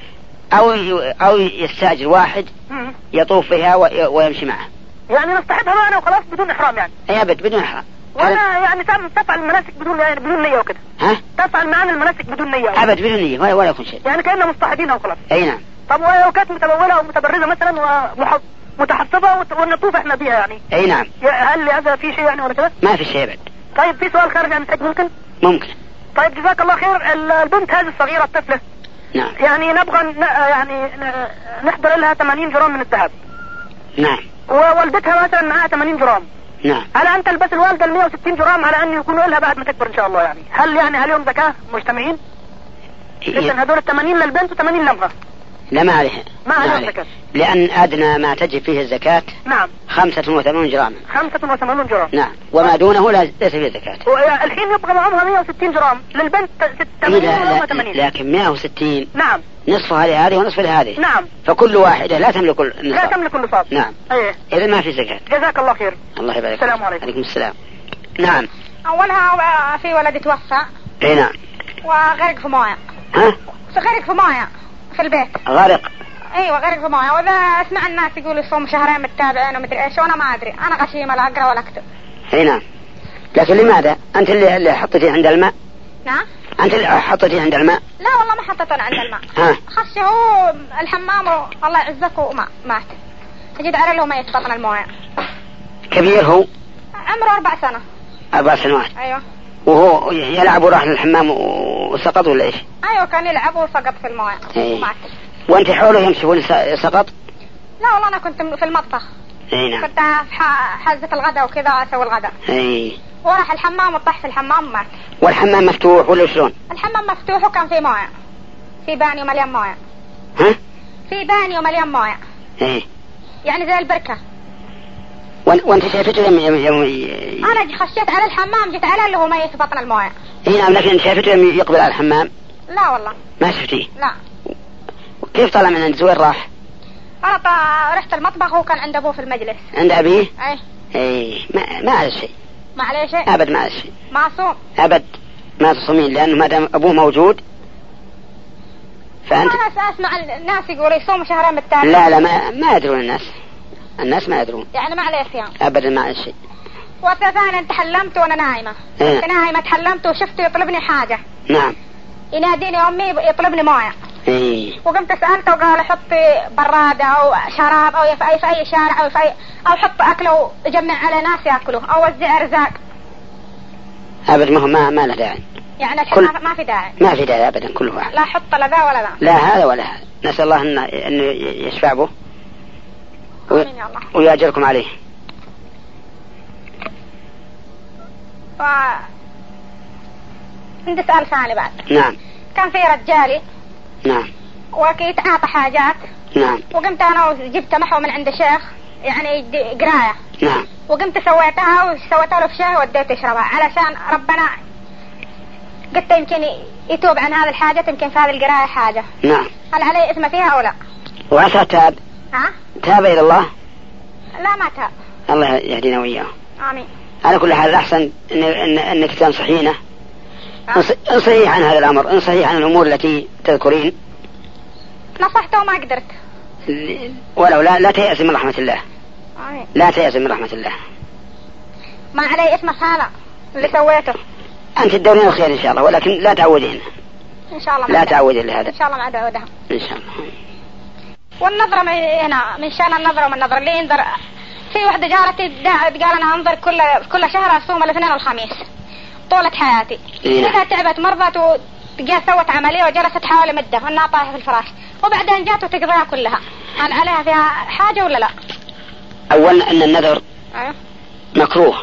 D: أو ي- أو يستأجر واحد
E: مم.
D: يطوف بها وي- ويمشي معه
E: يعني نصطحبها بقى انا وخلاص بدون احرام يعني
D: يا بد بدون إحرام هذا-
E: وانا يعني تعمل تفعل المناسك بدون يعني بدون نيه وكده
D: ها
E: تفعل معانا المناسك بدون نيه
D: أبد بدون نية ولا, ولا يكون شيء
E: يعني كاننا مصطحبين وخلاص
D: أي نعم
E: طب ولو كانت متبوله او متبرزه مثلا ومح- متحفظه وت- ونطوف احنا بيها يعني
D: أي نعم
E: يا- هل هذا في شيء يعني ولا كده؟
D: ما في شيء أبد
E: طيب في سؤال خارج عن الحج ممكن؟
D: ممكن
E: طيب جزاك الله خير ال- البنت هذه الصغيره الطفله
D: نعم
E: يعني نبغى ن- يعني ن- نحضر لها 80 جرام من الذهب
D: نعم
E: ووالدتها مثلا معاها 80 جرام
D: نعم
E: على ان تلبس الوالده ال 160 جرام على ان يكونوا لها بعد ما تكبر ان شاء الله يعني هل يعني عليهم زكاه مجتمعين؟
D: إيه.
E: اذا هذول 80 للبنت و80 لامها
D: لا ما عليها
E: ما عليها
D: عليها.
E: زكاة.
D: لأن أدنى ما تجب فيه الزكاة
E: نعم
D: 85 جراما
E: 85 جرام
D: نعم وما
E: طيب.
D: دونه لا ليس فيه زكاة
E: والحين يبقى معهمها 160 جرام للبنت ست- 80
D: إيه، لا-
E: ولامها
D: لا-
E: 80
D: لكن 160
E: نعم
D: نصفها لهذه ونصف لهذه
E: نعم
D: فكل واحدة لا تملك النصف
E: لا تملك النصاب
D: نعم
E: ايه
D: إذا ما في زكاة
E: جزاك الله خير
D: الله يبارك فيك.
E: السلام عليكم.
D: عليكم السلام نعم
I: اولها آه، في ولد توفى
D: اي نعم
I: وغرق في مويه
D: ها
I: غرق في مويه في البيت
D: غرق
I: ايوه غرق في مويه واذا اسمع الناس يقولوا صوم شهرين متابعين ومدري ايش وانا ما ادري انا غشيمه لا اقرا ولا اكتب
D: اي نعم لكن لماذا؟ أنت اللي اللي حطيتيه عند الماء
I: نعم
D: أنت اللي حطيتيه عند الماء
I: لا والله ما حطيت انا عند الماء
D: ها
I: خشي هو الحمام و- الله يعزك وما مات تجد على له ميت بطن المويه
D: كبير هو
I: عمره اربع سنه
D: أربع سنوات
E: أيوة.
I: ايوه
D: وهو يلعب وراح للحمام و- وسقط ولا إيش؟
I: ايوه كان يلعب وسقط في المويه
D: إيه.
I: ومات
D: وأنت حوله يمشي يقول س- سقط؟
I: لا والله انا كنت في المطبخ
D: اي نعم
I: كنت في ح- حازة الغداء وكذا اسوي الغداء
D: اي
I: وراح الحمام وطاح في الحمام ومات
D: والحمام مفتوح ولا شلون؟
I: الحمام مفتوح وكان فيه مويه في بانيو مليان مويه
D: ها؟
I: في بانيو مليان مويه
D: اي
I: يعني زي البركه
D: وأن- وانت شايفته يم يم يم ي-
I: انا ج- خشيت على الحمام جيت على اللي هو ميت في بطن المويه
D: اي نعم لكن شايفته يم يقبل على الحمام
I: لا والله
D: ما شفتيه
I: لا
D: كيف طلع من عند زوين راح؟
I: انا طا- رحت المطبخ وهو كان عند ابوه في المجلس
D: عند ابيه؟
I: ايه
D: اي إيه، ما ما على شيء
I: ما عليه شيء
D: ابد ما على شيء
I: معصوم
D: ابد ما تصومين لانه ما دام ابوه موجود فانت
I: انا أس- اسمع الناس يقولوا يصوموا شهرين بالتالي
D: لا لا ما ما يدرون الناس الناس ما يدرون
I: يعني ما عليه صيام
D: ابدا ما على شيء
I: والثاني انت حلمت وانا نايمه
D: إيه.
I: كنت نايمه تحلمت وشفته يطلبني حاجه
D: نعم
I: يناديني امي يطلبني مويه
D: اي
I: وقمت سالته وقال حطي براده او شراب او في اي في اي شارع او في اي او حط اكله وجمع على ناس ياكلوا او وزع ارزاق
D: ابد ما هو ما, ما له داعي
I: يعني الحين
D: كل-
I: ما- ما في داعي
D: ما في داعي ابدا كله واحد
I: لا حط لا ذا ولا ذا
D: لا هذا ولا هذا نسأل الله أن أنه يشفع به و-
I: آمين يا الله.
D: ويأجركم عليه
I: ف... عندي سؤال ثاني بعد
D: نعم
I: كان في رجالي
D: نعم
I: وكيت اعطى حاجات
D: نعم
I: وقمت انا وجبت محو من عند شيخ يعني يدي- قرايه
D: نعم
I: وقمت سويتها وسويت له في شاي وديته يشربها علشان ربنا قلت يمكن يتوب عن هذه الحاجة يمكن في هذه القراية حاجة
D: نعم
I: هل علي إثم فيها أو لا
D: وعسى تاب
I: ها
D: تاب إلى الله
I: لا ما تاب
D: الله يهدينا وإياه
I: آمين
D: على كل حال الأحسن إن إن أنك تنصحينه
I: ها؟
D: انص- انصحيه عن هذا الأمر انصحيه عن الأمور التي تذكرين
I: نصحته وما قدرت
D: ل- ولو لا لا تيأس من رحمة الله
I: آمين
D: لا تيأس من رحمة الله
I: ما علي إثم في هذا اللي سويته
D: أنت تدورين الخير إن شاء الله ولكن لا تعودين
I: إن شاء الله ما
D: لا
I: أدعو.
D: تعودين لهذا
I: إن شاء الله ما أدعوها
D: إن شاء الله
I: والنظرة من هنا من شأن النظرة ومن النظرة اللي ينظر في واحدة جارتي دا- قال أنا أنظر كل كل شهر أصوم الاثنين والخميس طولة حياتي
D: إيه نعم.
I: إذا تعبت مرضت وجا سوت عملية وجلست حوالي مدة وأنها طايحة في الفراش وبعدين جات وتقضيها كلها هل عليها فيها حاجة ولا لا؟
D: أولا أن النذر
I: أيوه
D: مكروه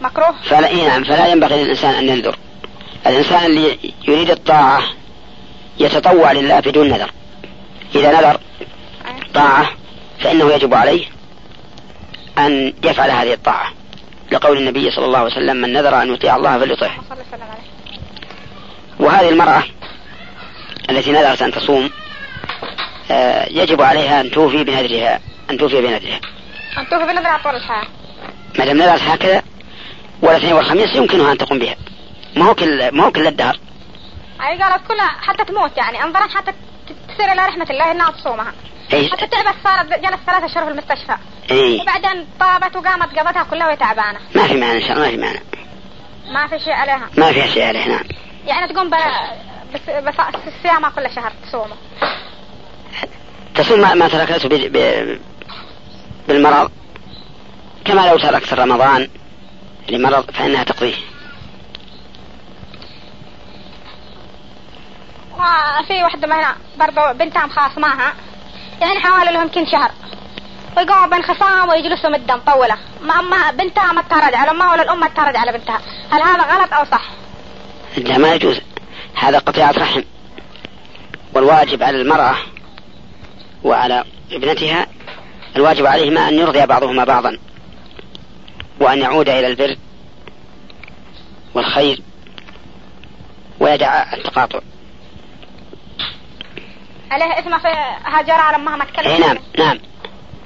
I: مكروه
D: فلا إيه نعم فلا ينبغي للإنسان أن ينذر الإنسان اللي يريد الطاعة يتطوع لله بدون نذر إذا نذر
I: أيوه
D: طاعة فإنه يجب عليه أن يفعل هذه الطاعة لقول النبي صلى الله عليه وسلم من نذر أن يطيع الله فليطعه
I: اللهم صل وسلم عليه
D: وهذه المرأة التي نذرت أن تصوم آه، يجب عليها أن توفي بنذرها أن توفي بنذرها
I: أن توفي بنظرة طول الحياة
D: ما دام نذرت هكذا والاثنين والخميس يمكنها أن تقوم بها ما هو كل ما هو كل الدهر
I: يعني قالت كلها حتى تموت يعني انظرا حتى ت- تصير إلى رحمة الله إنها تصومها
D: إيه
I: حتى تعبت صارت جلست ثلاثة أشهر في المستشفى
D: إيه
I: وبعدين طابت وقامت قضتها كلها وهي تعبانة
D: ما في معنى إن شاء الله ما في معنى
I: ما في شيء عليها
D: ما فيها شيء عليه نعم
I: يعني تقوم ب... بس... بس... صيامها كل شهر تصومه
D: تصوم ما, ما تركته بال- ب- بالمرض كما لو تركت رمضان لمرض فإنها تقضيه
I: وفي واحدة ما هنا برضه بنتها مخاصماها يعني حوالي لهم يمكن شهر ويقوموا بانخصام ويجلسوا مدة مطولة ما أمها بنتها ما ترد على أمها ولا الأم ترد على بنتها هل هذا غلط أو صح؟
D: لا ما يجوز هذا قطيعة رحم والواجب على المرأة وعلى ابنتها الواجب عليهما أن يرضي بعضهما بعضا وأن يعود إلى البر والخير ويدع التقاطع
I: عليه إثم في هاجرها على أمها ما تكلمت
D: أي نعم نعم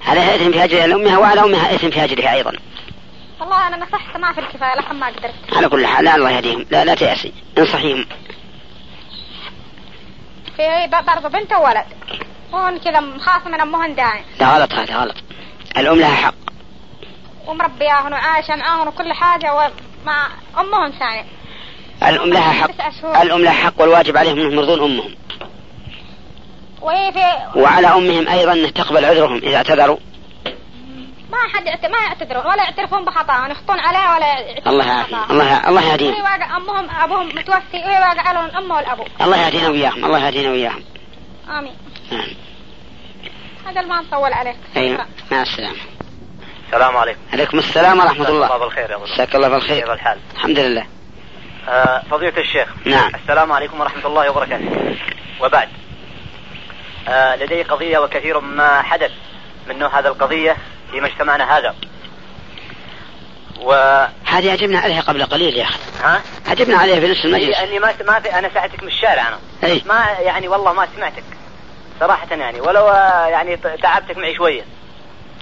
D: عليها إثم في هجرها لأمها وعلى أمها إثم في هجرها أيضا
I: والله أنا نصحت ما في الكفاية لحم ما قدرت
D: على كل حال لا الله يهديهم لا لا تيأسي انصحيهم
I: في ب- برضه بنت وولد هون كذا مخاصم من أمهن داعي
D: لا غلط هذا غلط الأم لها حق
I: ومربياهن وعايشة معاهن وكل حاجة ومع أمهن ثانية
D: الأم لها حق
I: ست أشهر.
D: الأم لها حق والواجب عليهم أنهم يرضون أمهم
I: وهي في
D: وعلى أمهم أيضا أن تقبل عذرهم إذا اعتذروا
I: ما حد يعت- ما يعتذرون ولا يعترفون بخطأهم يخطون عليه ولا يعترفون
D: الله يعافيهم
I: بخطأهم.
D: الله الله
I: وهي
D: يهديهم
I: واقع أمهم أبوهم متوفي وهي واقع لهم الأم والأبو
D: الله يهدينا وإياهم الله يهدينا وإياهم
I: آمين
D: نعم
I: هذا ما نطول عليه
D: أي مع السلامة
J: السلام عليكم
D: عليكم السلام ورحمة
J: الله
D: الله
J: بالخير يا ابو
D: مساك الله
J: كيف
D: بالخير
J: الحال؟
D: الحمد لله
J: آه، فضيلة الشيخ
D: نعم
J: السلام عليكم ورحمة الله وبركاته وبعد آه، لدي قضية وكثير ما حدث من نوع هذا القضية في مجتمعنا هذا و
D: هذه عجبنا عليها قبل قليل يا أخي
J: ها؟
D: عجبنا عليها في نفس المجلس إيه.
J: إيه، اني ما ما في انا ساعتك من الشارع انا
D: أي
J: ما يعني والله ما سمعتك صراحة يعني ولو آه، يعني ت- تعبتك معي شوية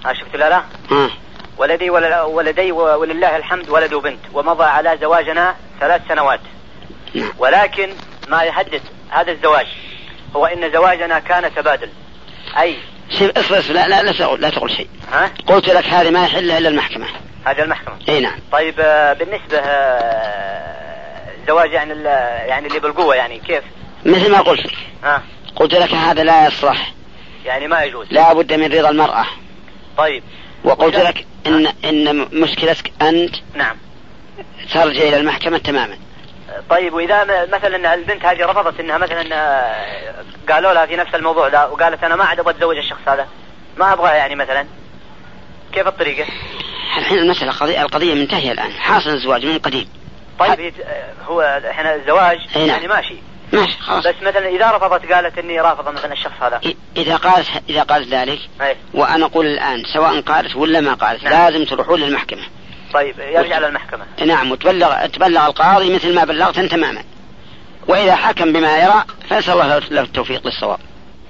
J: ها شفت لا لا
D: آه.
J: ولدي ول- ولدي و- ولله الحمد ولد وبنت ومضى على زواجنا ثلاث سنوات
D: نعم.
J: ولكن ما يحدث هذا الزواج هو ان زواجنا كان تبادل اي
D: شوف اصبر اصبر، لا لا لا تقول لا تقول شيء
J: ها
D: قلت لك هذه ما يحل الا المحكمه
J: هذا المحكمه
D: اي نعم
J: طيب آه، بالنسبه آه، الزواج يعني ال- يعني اللي بالقوه يعني كيف
D: مثل ما قلت لك
J: ها
D: قلت لك هذا لا يصلح
J: يعني ما يجوز
D: لا بد من رضا المراه
J: طيب
D: وقلت
J: وجد-
D: لك ان ان مشكلتك انت
J: نعم
D: ترجع الى المحكمه تماما
J: طيب واذا م- مثلا البنت هذه رفضت انها مثلا آه، قالوا لها في نفس الموضوع ده وقالت انا ما عاد ابغى اتزوج الشخص هذا ما ابغاه يعني مثلا كيف الطريقه؟
D: الحين المساله قضية القضيه منتهيه الان حاصل الزواج من قديم
J: طيب يت- هو الحين الزواج
D: أي نعم.
J: يعني ماشي
D: ماشي خلاص
J: بس مثلا اذا رفضت قالت اني رافضه مثلا الشخص هذا
D: إ- اذا قالت اذا قالت ذلك
J: أي.
D: وانا اقول الان سواء قالت ولا ما قالت
J: نعم.
D: لازم تروحون للمحكمه
J: طيب يرجع للمحكمه
D: نعم وتبلغ تبلغ القاضي مثل ما بلغت تماما واذا حكم بما يرى فاسال الله له التوفيق للصواب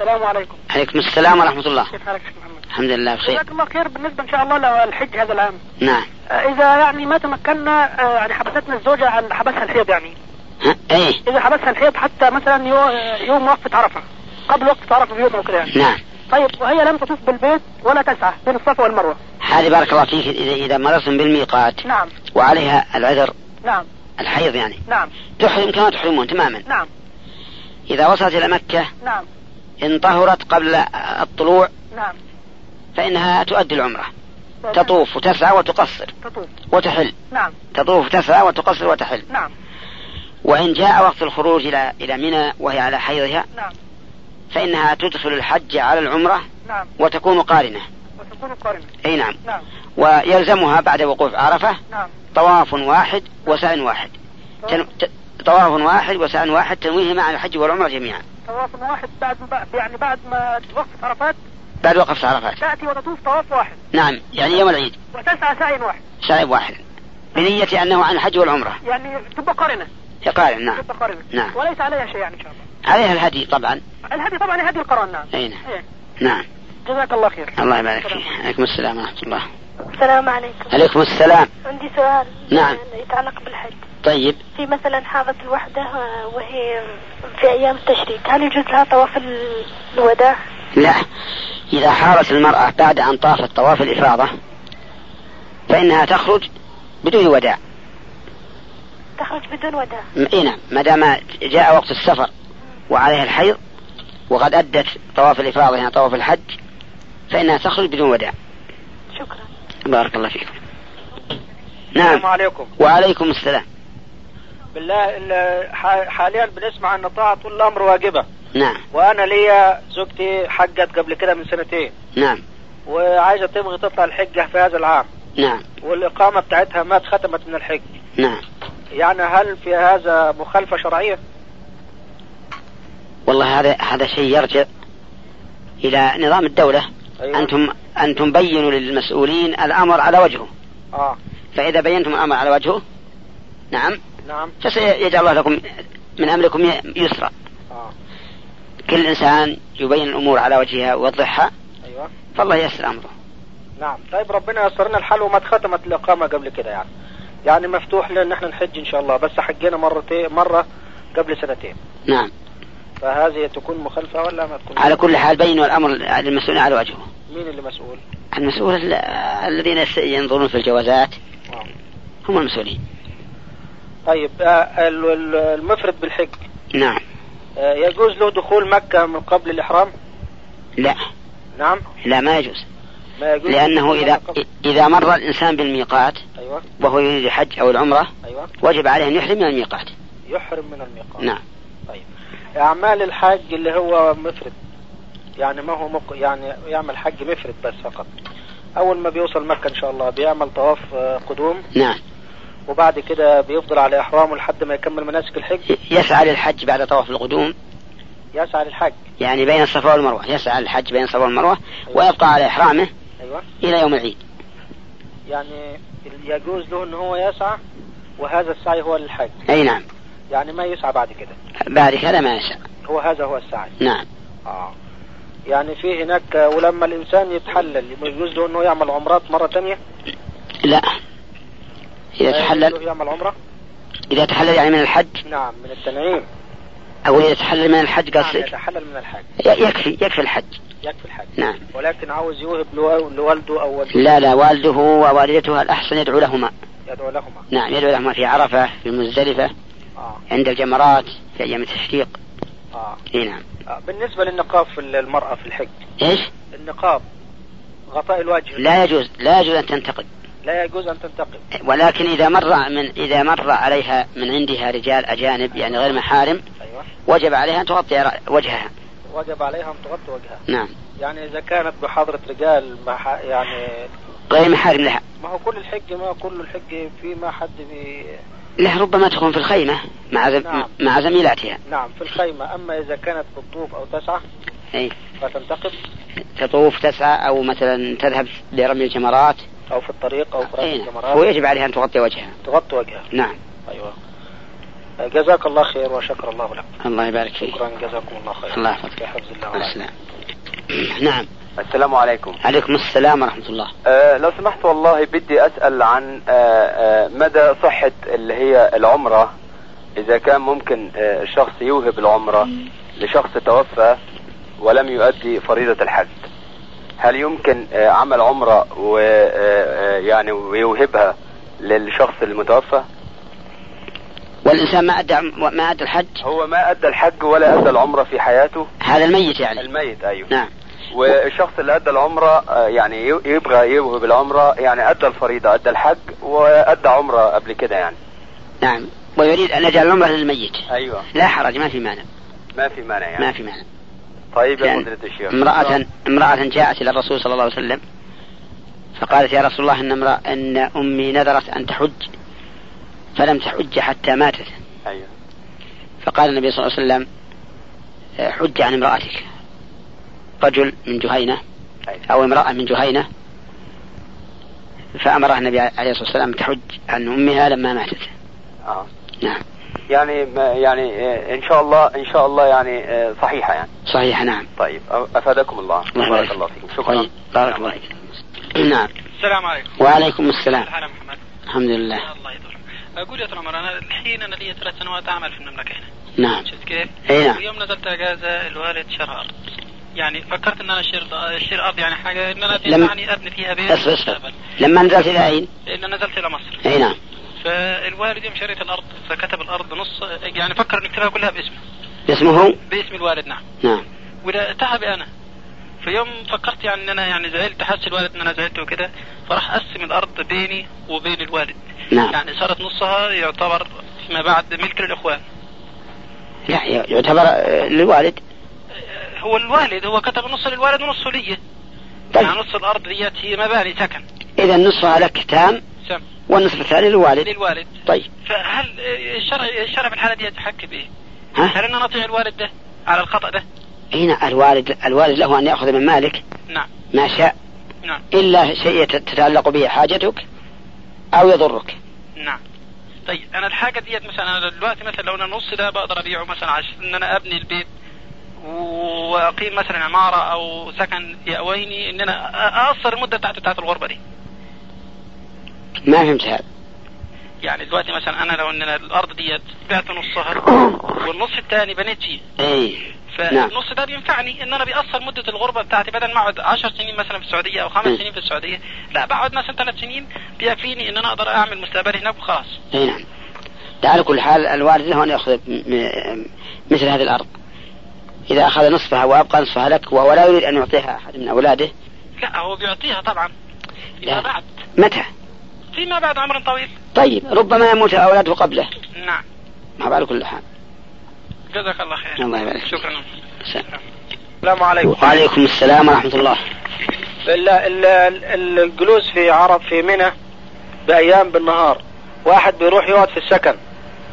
E: السلام عليكم
D: عليكم السلام ورحمه الله
E: كيف حالك يا شيخ محمد
D: الحمد لله بخير
E: جزاك الله خير بالنسبه ان شاء الله للحج هذا العام
D: نعم
E: آه، اذا يعني ما تمكنا آه، يعني حبستنا الزوجه عن حبسها الحيض يعني
D: ها؟ ايه
E: اذا حبسها الحيض حتى مثلا يو- آه، يوم وقفه عرفه قبل وقفه عرفه بيوم او كده يعني
D: نعم
E: طيب وهي لم تطوف بالبيت ولا تسعى بين الصفا والمروه
D: هذه بارك الله فيك اذا اذا مررتم بالميقات
E: نعم
D: وعليها العذر
E: نعم
D: الحيض يعني
E: نعم
D: تحرم كما تحرمون تماما
E: نعم
D: اذا وصلت الى مكه
E: نعم
D: ان طهرت قبل الطلوع
E: نعم
D: فانها تؤدي العمره تطوف وتسعى وتقصر
E: تطوف
D: وتحل
E: نعم
D: تطوف وتسعى وتقصر وتحل
E: نعم
D: وان جاء وقت الخروج الى الى منى وهي على حيضها
E: نعم
D: فانها تدخل الحج على العمره
E: نعم
D: وتكون قارنه
E: وتكون قارنة
D: اي نعم
E: نعم
D: ويلزمها بعد وقوف عرفه
E: نعم
D: طواف واحد وسعي واحد تن... ت... طواف واحد وسعي واحد تنويه مع الحج والعمرة جميعا
E: طواف واحد بعد بعد- يعني بعد ما وقفت عرفات
D: بعد
E: نعم.
D: وقفة عرفات
E: تأتي وتطوف طواف واحد
D: نعم يعني يوم العيد
E: وتسعى سعي واحد
D: سعي واحد بنية أنه عن الحج والعمرة
K: يعني تبقى قرنة
D: قارن نعم
K: تبقى قرنة
D: نعم.
K: وليس عليها شيء يعني إن شاء الله
D: عليها الهدي طبعا
K: الهدي طبعا هدي القرن نعم
D: أي نعم
K: إيه.
D: نعم
K: جزاك الله خير
D: الله يبارك فيك عليكم السلام ورحمة الله
F: السلام عليكم
D: عليكم السلام
F: عندي سؤال
D: نعم.
F: يتعلق بالحج
D: طيب
F: في مثلا حاضت الوحدة آه، وهي في أيام التشريق هل يجوز لها طواف ال- الوداع؟
D: لا إذا حارت المرأة بعد أن طافت طواف الإفاضة فإنها تخرج بدون وداع
F: تخرج بدون وداع
D: م- إي نعم ما دام جاء وقت السفر وعليها الحيض وقد أدت طواف الإفاضة يعني طواف الحج فإنها تخرج بدون وداع
F: شكرا
D: بارك الله فيكم نعم
L: السلام عليكم
D: وعليكم السلام
L: بالله ال- ح- حاليا بنسمع ان طاعة الامر واجبة
D: نعم
L: وانا ليا زوجتي حجت قبل كده من سنتين
D: نعم
L: وعايزة تبغي تطلع الحجة في هذا العام
D: نعم
L: والاقامة بتاعتها ما اتختمت من الحج
D: نعم
L: يعني هل في هذا مخالفة شرعية؟
D: والله هذا هذا شيء يرجع إلى نظام الدولة
L: أيوة.
D: أنتم أنتم بينوا للمسؤولين الأمر على وجهه
M: آه.
L: اه
D: فإذا بينتم الأمر على وجهه نعم
L: نعم
D: فسيجعل الله لكم من أمركم يسرا
L: اه
D: كل إنسان يبين الأمور على وجهها ويوضحها
L: ايوه
D: فالله ييسر أمره
L: نعم طيب ربنا يسر لنا الحل وما اتختمت الاقامة قبل كده يعني يعني مفتوح لنا ان احنا نحج ان شاء الله بس حجينا مرتين مرة قبل سنتين
D: نعم
L: فهذه تكون مخالفة ولا ما تكون
D: على كل حال بينوا الأمر للمسؤولين على وجهه
L: مين اللي مسؤول؟
D: المسؤول ال- الذين يس- ينظرون في الجوازات
L: آه.
D: هم المسؤولين
L: طيب آه، ال- ال- المفرد بالحج
D: نعم
L: آه، يجوز له دخول مكة من قبل الإحرام
D: لا
L: نعم
D: لا ما يجوز
L: ما يجوز
D: لأنه إذا إذا مر الإنسان بالميقات
L: أيوة
D: وهو يريد الحج أو العمرة
L: أيوة
D: وجب عليه أن يحرم يعني. من الميقات
L: يحرم من الميقات
D: نعم
L: أعمال الحاج اللي هو مفرد يعني ما هو مق... يعني يعمل حج مفرد بس فقط أول ما بيوصل مكة إن شاء الله بيعمل طواف آه، قدوم
D: نعم
L: وبعد كده بيفضل على إحرامه لحد ما يكمل مناسك الحج
D: ي- يسعى للحج بعد طواف القدوم
L: يسعى للحج
D: يعني بين الصفا والمروة يسعى للحج بين الصفا والمروة ويبقى على إحرامه
L: أيوة
D: إلى يوم العيد
L: يعني يجوز له إن هو يسعى وهذا السعي هو للحج
D: أي نعم
L: يعني ما يسعى بعد كده
D: بعد كذا ما يسعى
L: هو هذا هو السعي
D: نعم
L: اه يعني في هناك آه، ولما الانسان يتحلل يجوز له انه يعمل عمرات مره تانية
D: لا إذا
L: آه، يجوز
D: تحلل
L: له يعمل عمره
D: إذا تحلل يعني من الحج
L: نعم من التنعيم
D: أو إذا تحلل من الحج
L: نعم
D: قصدك
L: يتحلل من الحج
D: ي- يكفي يكفي الحج
L: يكفي الحج
D: نعم
L: ولكن عاوز يوهب لو- لوالده او والده
D: لا لا والده ووالدته الأحسن يدعو لهما
L: يدعو لهما
D: نعم يدعو لهما في عرفة في مزدلفة
L: اه
D: عند الجمرات في أيام التشريق
L: اه
D: اي نعم
L: آه، بالنسبه للنقاب في ال- المراه في الحج
D: ايش؟
L: النقاب غطاء الوجه
D: لا يجوز لا يجوز أن تنتقد
L: لا يجوز ان تنتقب
D: ولكن إذا مر من إذا مر عليها من عندها رجال أجانب يعني غير محارم
L: ايوه
D: وجب عليها أن تغطي رأ- وجهها
L: وجب عليها ان تغطي وجهها
D: نعم
L: يعني اذا كانت بحضره رجال مع ح- يعني
D: غير محارم لها
L: ما هو كل الحج ما كل الحج في ما حد بي...
D: له ربما تكون في الخيمة مع زم...
L: نعم.
D: مع زميلاتها
L: نعم في الخيمة أما إذا كانت بالطوف أو تسعة
D: أي
L: فتنتقب
D: تطوف تسعى أو مثلا تذهب لرمي الجمرات
L: أو في الطريق أو في رأس
D: أي نعم.
L: الجمرات
D: ويجب عليها أن تغطي وجهها
L: تغطي وجهها
D: نعم
L: أيوة جزاك الله خير وشكر الله لك
D: الله يبارك فيك
L: شكرا جزاكم الله خير
D: الله يحفظك.
L: في حفظ الله
D: مع
L: وعليكم.
D: السلامة نعم
N: السلام عليكم
D: عليكم السلام ورحمة الله
N: أه لو سمحت والله بدي أسأل عن أه أه مدى صحة اللي هي العمرة إذا كان ممكن أه الشخص يوهب العمرة لشخص توفى ولم يؤدي فريضة الحج هل يمكن أه عمل عمرة و أه، أه يعني ويوهبها للشخص المتوفى
D: والإنسان ما أدى عم- ما أدى الحج
N: هو ما أدى الحج ولا أدى العمرة في حياته
D: هذا الميت يعني
N: الميت أيوه
D: نعم
N: والشخص اللي ادى العمره آه، يعني ي- يبغى يوهب العمره يعني ادى الفريضه ادى الحج وادى عمره قبل كده يعني
D: نعم ويريد أن يجعل العمرة للميت
N: ايوه
D: لا حرج ما في مانع
N: ما في مانع يعني
D: أيوة. ما في مانع
N: طيب يا
D: لأن
N: فضيلة الشيخ
D: امرأة امرأة جاءت إلى الرسول صلى الله عليه وسلم فقالت يا رسول الله إن امرأة إن أمي نذرت أن تحج فلم تحج حتى ماتت أيوه.
N: ايوه
D: فقال النبي صلى الله عليه وسلم آه، حج عن امرأتك رجل من جهينة
N: ايوه
D: أو امرأة من جهينة فأمرها النبي عليه الصلاة والسلام تحج عن أمها لما ماتت
N: آه.
D: نعم
N: يعني ما يعني آه، ان شاء الله ان شاء الله يعني آه، صحيحه يعني
D: صحيح نعم
N: طيب أ- افادكم الله
D: الله
N: بارك
D: يبارك.
N: الله فيكم شكرا
D: طيب بارك الله فيك نعم
O: السلام عليكم
D: وعليكم السلام
O: الحالة محمد
D: الحمد لله
O: الله يدور اقول يا عمر انا الحين انا لي ثلاث سنوات اعمل في المملكه هنا
D: نعم
O: شفت كيف؟
D: أي نعم.
O: ويوم نزلت اجازه الوالد شرى ارض يعني فكرت ان انا اشتري اشتري ارض يعني حاجه ان انا
D: لم-
O: يعني ابني فيها بيت
D: اصبر اصبر
O: مستقبل.
D: لما نزلت إلى أين؟
O: لان نزلت الى مصر
D: أي نعم
O: فالوالد يوم شريت الارض فكتب الارض نص يعني فكر ان يكتبها كلها باسمه
D: اسمه
O: باسم الوالد نعم
D: نعم
O: وده تعب انا فيوم فكرت يعني ان انا يعني زعلت حس الوالد ان انا زعلت وكده فراح قسم الارض بيني وبين الوالد
D: نعم.
O: يعني صارت نصها يعتبر فيما بعد ملك للاخوان
D: لا يعتبر آه، للوالد
O: هو الوالد هو كتب نص للوالد ونصه لي
D: طيب.
O: يعني نص الارض ديت هي مباني سكن
D: إذا نصفها لك تام
O: سم
D: والنصف الثاني للوالد
O: للوالد
D: طيب
O: فهل آه، الشرع الشرع في الحاله دي يتحكم بايه؟
D: ها؟
O: هل انا نطيع الوالد ده على الخطا ده؟
D: هنا الوالد الوالد له أن يأخذ من مالك
O: نعم
D: ما شاء
O: نعم
D: إلا شيء يت- تتعلق به حاجتك أو يضرك
O: نعم طيب انا الحاجه ديت مثلا انا دلوقتي مثلا لو انا النص ده بقدر ابيعه مثلا عشان ان انا ابني البيت واقيم مثلا عماره او سكن يأويني ان انا أ- اقصر المده بتاعت بتاعت الغربه دي
D: ما فهمت هذا
O: يعني دلوقتي مثلا انا لو ان انا الارض ديت بعت نصها والنص الثاني بنيت فيه
D: أي نعم.
O: فالنص ده بينفعني ان انا بيأثر مده الغربه بتاعتي بدل ما اقعد 10 سنين مثلا في السعوديه او خمس
D: م.
O: سنين في السعوديه لا بقعد مثلا ثلاث سنين بيكفيني ان انا اقدر اعمل مستقبلي هناك وخلاص
D: أي نعم على كل حال الوالد له أن يأخذ م- م- مثل هذه الأرض إذا أخذ نصفها وأبقى نصفها لك وهو لا يريد أن يعطيها أحد من أولاده
O: لا هو بيعطيها طبعا فيما
D: لا.
O: بعد
D: متى؟
O: فيما بعد عمر طويل
D: طيب ربما يموت أولاده قبله
O: نعم
D: ما على كل حال
O: جزاك الله خير
D: الله يبارك فيك.
O: شكرا
D: سلام.
L: السلام عليكم
D: وعليكم السلام ورحمة الله
L: ال- ال- ال- الجلوس في عرب في منى بأيام بالنهار واحد بيروح يقعد في السكن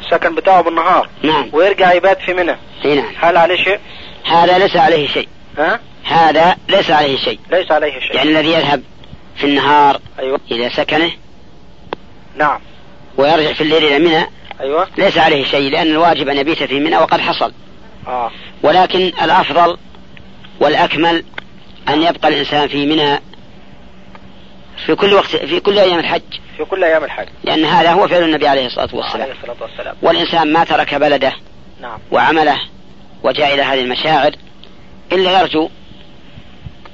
L: السكن بتاعه بالنهار
D: نعم
L: ويرجع يبات في منى
D: أي نعم
L: هل عليه شيء؟
D: هذا ليس عليه شيء
L: ها؟
D: هذا ليس عليه شيء
L: ليس عليه شيء
D: يعني الذي يذهب في النهار
L: أيوة.
D: إلى سكنه
L: نعم
D: ويرجع في الليل إلى منى
L: أيوة
D: ليس عليه شيء لأن الواجب أن يبيت في منى وقد حصل
L: آه
D: ولكن الأفضل والأكمل أن يبقى الإنسان في منى في كل وقت في كل أيام الحج
L: في كل أيام الحج
D: لأن هذا هو فعل النبي عليه الصلاة
L: عليه
D: والسلام
L: الصلاة والسلام
D: والإنسان ما ترك بلده
L: نعم
D: وعمله وجاء إلى هذه المشاعر إلا يرجو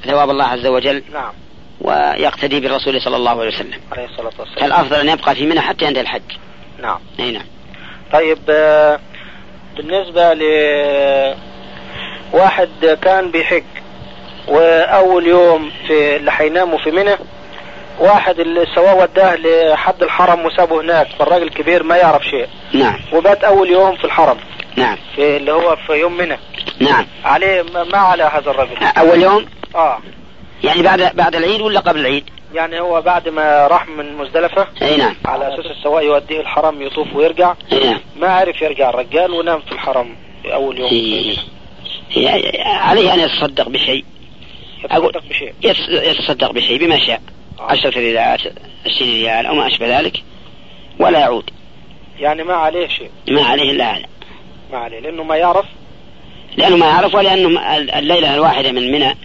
D: ثواب الله عز وجل
L: نعم
D: ويقتدي بالرسول صلى الله عليه وسلم
L: عليه الصلاة والسلام
D: فالأفضل أن يبقى في منى حتى ينتهي الحج
L: نعم
D: أي نعم
L: طيب آه، بالنسبة ل واحد كان بيحج وأول يوم في اللي هيناموا في منى واحد اللي سواه وداه لحد الحرم وسابه هناك فالراجل كبير ما يعرف شيء
D: نعم
L: وبات أول يوم في الحرم
D: نعم
L: في اللي هو في يوم منى
D: نعم
L: عليه ما ما على هذا الرجل
D: أول يوم
L: اه
D: يعني بعد بعد العيد ولا قبل العيد؟
L: يعني هو بعد ما راح من مزدلفة
D: أي نعم
L: على أساس السواق يوديه الحرم يطوف ويرجع
D: أي نعم
L: ما عرف يرجع الرجال ونام في الحرم أول يوم في منى.
D: إيه. إيه، عليه أن يتصدق بشيء أقول
L: يتصدق بشيء
D: يتص- يتصدق بشيء بما شاء
L: آه.
D: عشرة ريالات عشرين ريال أو ما أشبه ذلك ولا يعود
L: يعني ما عليه شيء
D: ما عليه إلا هذا
L: ما عليه لأنه ما يعرف
D: لأنه ما يعرف ولأنه ما- الليلة الواحدة من منى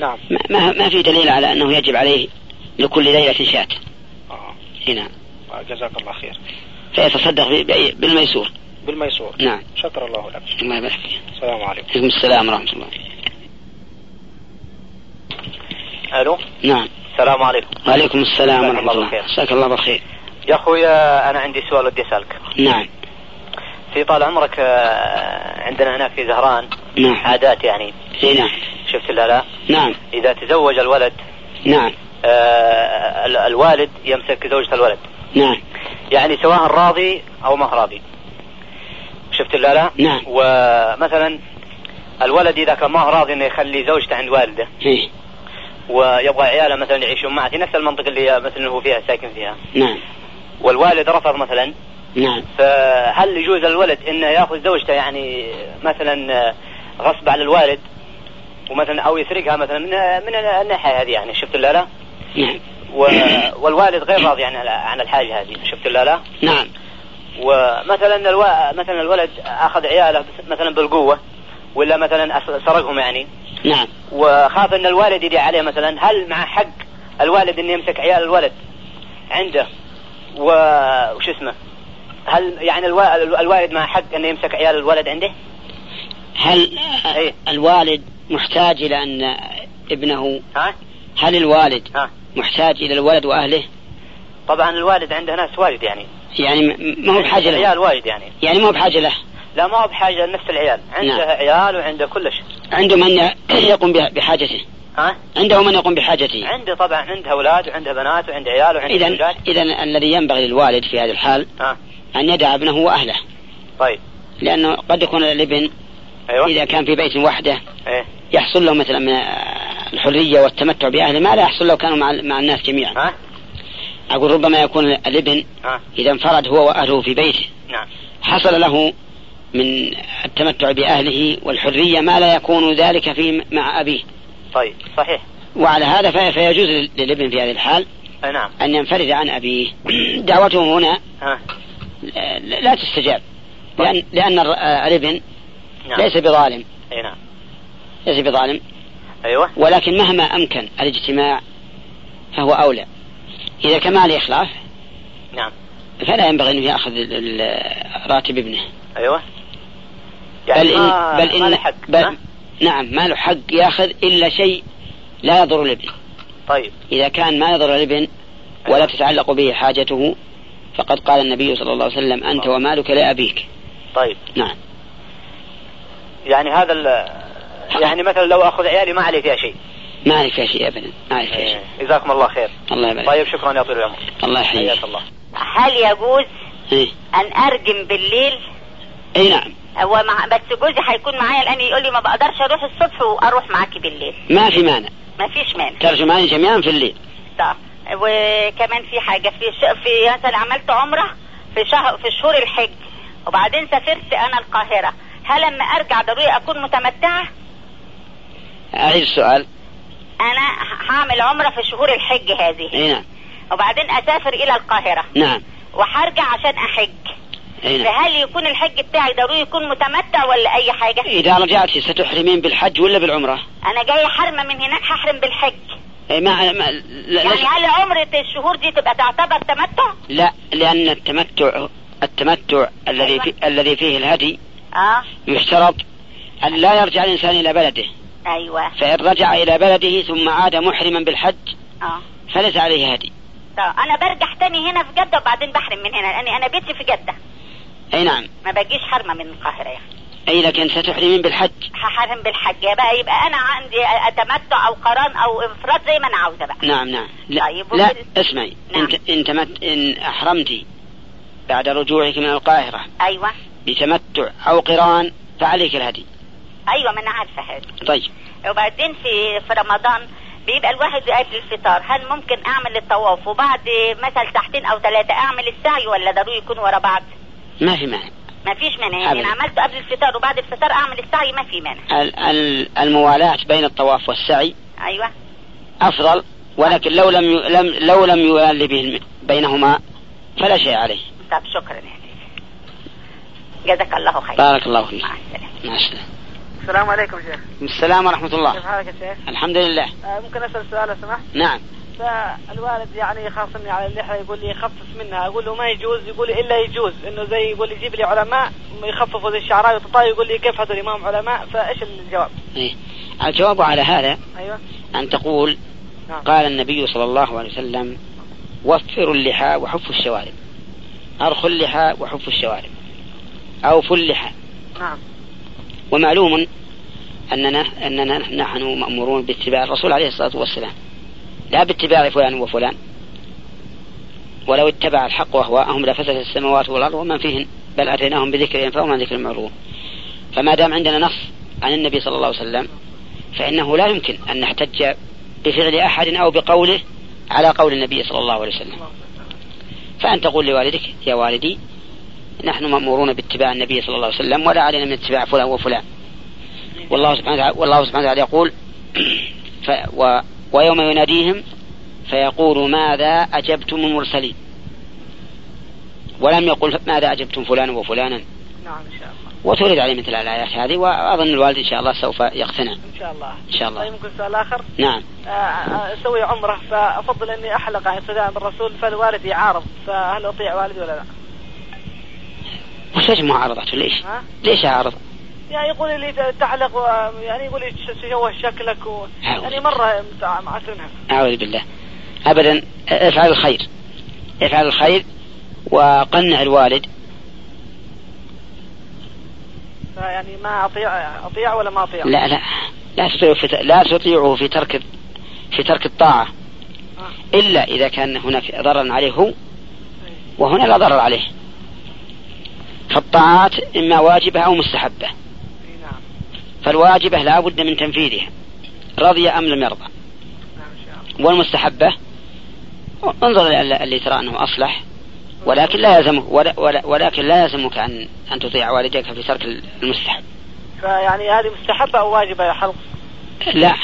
L: نعم
D: ما, ما, ما في دليل على أنه يجب عليه لكل ليلة شاة
L: آه.
D: هنا
L: آه، جزاك الله خير
D: فيتصدق ب- ب- بالميسور
L: بالميسور
D: نعم
L: شكر الله لك
D: الله يبارك فيك نعم.
L: السلام عليكم
D: عليكم السلام ورحمة الله
N: الو
D: نعم
N: السلام عليكم
D: وعليكم السلام
N: جزاك
D: ورحمة
N: الله
D: الله
N: خير.
D: جزاك الله بالخير
N: يا اخويا انا عندي سؤال ودي اسالك
D: نعم
N: في طال عمرك آه، عندنا هناك في زهران
D: نعم
N: عادات يعني
D: إي نعم
N: شفت لا لا
D: نعم
N: اذا تزوج الولد
D: نعم
N: آه، ال- الوالد يمسك زوجة الولد
D: نعم
N: يعني سواء راضي او ما راضي شفت لا لا
D: نعم.
N: ومثلا الولد اذا كان ما هو راضي انه يخلي زوجته عند والده
D: إيه
N: ويبغى عياله مثلا يعيشون معه في نفس المنطقه اللي مثلا هو فيها ساكن فيها
D: نعم
N: والوالد رفض مثلا
D: نعم
N: فهل يجوز للولد انه ياخذ زوجته يعني مثلا غصب على الوالد ومثلا او يسرقها مثلا من من الناحيه هذه يعني شفت لا لا
D: نعم
J: و... والوالد غير راضي عن عن الحاجه هذه شفت ولا لا؟
D: نعم
J: ومثلا الو... مثلا الولد اخذ عياله بس- مثلا بالقوه ولا مثلا أس- سرقهم يعني
D: نعم
J: وخاف ان الوالد يدي عليه مثلا هل مع حق الوالد انه يمسك عيال الولد عنده و... وش اسمه؟ هل يعني الو... الو- الوالد مع حق انه يمسك عيال الولد عنده؟ إيه.
D: هل الوالد محتاج إلى أن ابنه
J: ها؟
D: هل الوالد
J: ها؟
D: محتاج إلى الولد وأهله
J: طبعا الوالد عنده ناس واجد يعني
D: يعني م- ما هو بحاجة له
J: عيال واجد يعني
D: يعني ما هو بحاجة له
J: لا ما هو بحاجه لنفس العيال عنده
D: نعم.
J: عيال وعنده كل شيء
D: عنده من يقوم بح- بحاجته
J: ها؟
D: عنده من يقوم بحاجته
J: عنده طبعا عنده اولاد وعنده بنات وعنده عيال وعنده
D: إذا
J: زوجات
D: إذا الذي ينبغي للوالد في هذه الحال
J: ها.
D: أن يدع ابنه وأهله
J: طيب
D: لأنه قد يكون الابن
J: أيوة.
D: إذا كان في بيت وحده
J: ايه
D: يحصل له مثلا من الحرية والتمتع بأهله ما لا يحصل لو كانوا مع, مع الناس جميعا
J: ها؟
D: أقول ربما يكون الابن
J: ها؟
D: إذا انفرد هو وأهله في بيته
J: نعم
D: حصل له من التمتع بأهله والحرية ما لا يكون ذلك في مع أبيه
J: طيب صحيح
D: وعلى هذا في- فيجوز لل- للابن في هذه الحال
J: أي نعم
D: أن ينفرد عن أبيه دعوته هنا
J: ها
D: لا- لا تستجاب لأن, لأن الر- آه، الابن
J: نعم
D: ليس بظالم
J: اي نعم
D: ليس بظالم
J: ايوه
D: ولكن مهما أمكن الاجتماع فهو أولى إذا كان مع الإخلاف
J: نعم
D: فلا ينبغي أنه يأخذ ال- ال- راتب ابنه
J: ايوه
D: بل إن
J: يعني ما-
D: بل
J: ما
D: إن
J: له حق،
D: بل
J: ها؟
D: نعم ما له حق ياخذ الا شيء لا يضر الابن
J: طيب أيوة.
D: اذا كان ما يضر الابن ولا تتعلق به حاجته فقد قال النبي صلى الله عليه وسلم
J: آه.
D: انت ومالك لابيك
J: طيب
D: نعم
J: يعني هذا ال... يعني مثلا لو اخذ عيالي ما عليه فيها شيء
D: ما عليك يا شيء ابدا ما عليك يا شيء
J: إيه. جزاكم الله خير
D: الله يبارك
J: طيب شكرا يا طويل العمر
D: الله يحييك.
J: حياك الله
P: هل يجوز
D: إيه.
P: ان اردم بالليل
D: اي نعم
P: هو مع بس جوزي هيكون معايا الان يقول لي ما بقدرش اروح الصبح واروح معاكي بالليل
D: ما في مانع
P: ما فيش مانع
D: ترجمان جميعا في الليل
P: طب وكمان في حاجه في ش... في مثلا عملت عمره في شهر في شهور الحج وبعدين سافرت انا القاهره هل لما ارجع ضروري اكون متمتعه
D: اعيد السؤال
P: انا ه- هعمل عمره في شهور الحج هذه
D: اي نعم
P: وبعدين اسافر الى القاهره
D: نعم
P: وهرجع عشان احج
D: اي نعم
P: فهل يكون الحج بتاعي ضروري يكون متمتع ولا اي حاجه
D: اذا رجعتي ستحرمين بالحج ولا بالعمره؟
P: انا جاي حرمه من هناك هحرم بالحج
D: اي ما, ما لا,
P: يعني هل عمره الشهور دي تبقى تعتبر تمتع
D: لا لان التمتع التمتع الذي في
J: أيوة.
D: الذي فيه الهدي
P: اه
D: يشترط أن لا يرجع الإنسان إلى بلده
P: ايوه
D: فإن رجع إلى بلده ثم عاد محرما بالحج
P: اه
D: فليس عليه هدي
P: طب انا برجع تاني هنا في جده وبعدين بحرم من هنا لاني انا بيتي في جده
D: أي نعم
P: ما بجيش حرمه من القاهره يعني
D: أي لكن ستحرمين بالحج
P: هحرم بالحج يا بقى يبقى انا عندي اتمتع او قران او انفراد زي ما انا عاوزه بقى
D: نعم نعم لا,
P: طيب،
D: لا
P: وفي-
D: اسمعي إن, ت- إن, تمت إن أحرمت بعد رجوعك من القاهرة
P: ايوه
D: بتمتع أو قران فعليك الهدي
P: ايوه ما انا عارفه هذا
D: طيب
P: وبعدين في في رمضان بيبقى الواحد قبل الفطار هل ممكن اعمل الطواف وبعد مثلا ساعتين او ثلاثه اعمل السعي ولا ضروري يكون ورا بعض
D: ما في معنى
P: ما فيش مانع يعني
D: أبداً.
P: انا عملته قبل الفطار وبعد الفطار اعمل السعي ما في مانع
D: ال- ال- الموالاة بين الطواف والسعي
P: ايوه
D: أفضل ولكن لو لم ي- لم لو لم يوالي به- بينهما فلا شيء عليه
P: طب شكرا يا سيدي. جزاك الله خير
D: بارك الله فيك
P: طيب. مع السلامه
D: مع السلامة
K: السلام عليكم شيخ
D: السلام ورحمة
K: كيف
D: الله
K: حالك يا شيخ؟
D: الحمد لله
K: آه، ممكن اسال سؤال لو سمحت؟
D: نعم
K: فالوالد يعني خاصمني على اللحيه يقول لي خفف منها اقول له ما يجوز يقول لي الا يجوز انه زي يقول لي جيب لي علماء يخففوا زي الشعراء والتطاي يقول لي كيف هذا الامام علماء فايش الجواب؟
D: إيه. الجواب على هذا
K: ايوه
D: أن تقول
K: نعم.
D: قال النبي صلى الله عليه وسلم وفروا اللحى وحفوا الشوارب أرخوا اللحى وحفوا الشوارب أوفوا اللحى
K: نعم
D: ومعلوم أننا أننا نحن مأمورون باتباع الرسول عليه الصلاة والسلام لا باتباع فلان وفلان ولو اتبع الحق أهواءهم لفسدت السماوات والأرض ومن فيهن بل أتيناهم بذكرهم فهم عن ذكر المعروف فما دام عندنا نص عن النبي صلى الله عليه وسلم فإنه لا يمكن أن نحتج بفعل أحد أو بقوله على قول النبي صلى الله عليه وسلم فأن تقول لوالدك يا والدي نحن مأمورون باتباع النبي صلى الله عليه وسلم ولا علينا من اتباع فلان وفلان والله سبحانه وتعالى والله سبحانه وتعالى يقول ف و ويوم يناديهم فيقول ماذا أجبتم المرسلين ولم يقل ماذا أجبتم فلانا وفلانا
K: نعم ان شاء الله
D: وتورد عليه مثل الآيات هذه وأظن الوالد إن شاء الله سوف يقتنع
K: ان شاء الله
D: إن شاء الله.
K: طيب ممكن سؤال اخر
D: نعم
K: آه، آه، اسوي عمره فافضل اني احلق عن اقتداء بالرسول فالوالد يعارض فهل اطيع والدي ولا لا؟
D: وش وجه معارضته ليش؟
K: ها؟
D: ليش أعرض؟
K: يعني يقول لي تعلق و- يعني يقول لي تش- تشوه شكلك و... يعني مره متع- معتنها
D: أعوذ بالله أبدا افعل الخير افعل الخير وقنع الوالد
K: يعني ما اطيع اطيع ولا ما اطيع؟
D: لا لا لا تطيعه في لا تطيعه في ترك في ترك الطاعة إلا إذا كان هناك ضرر عليه هو وهنا لا ضرر عليه فالطاعات إما واجبة أو مستحبة فالواجبة لا بد من تنفيذها رضي أم لم يرضى والمستحبة انظر إلى اللي ترى أنه أصلح ولكن لا يلزمك ولا ولا ولكن لا يلزمك أن أن تطيع والديك في ترك المستحب
K: فيعني هذه مستحبه او واجبه يا حلق؟
D: لا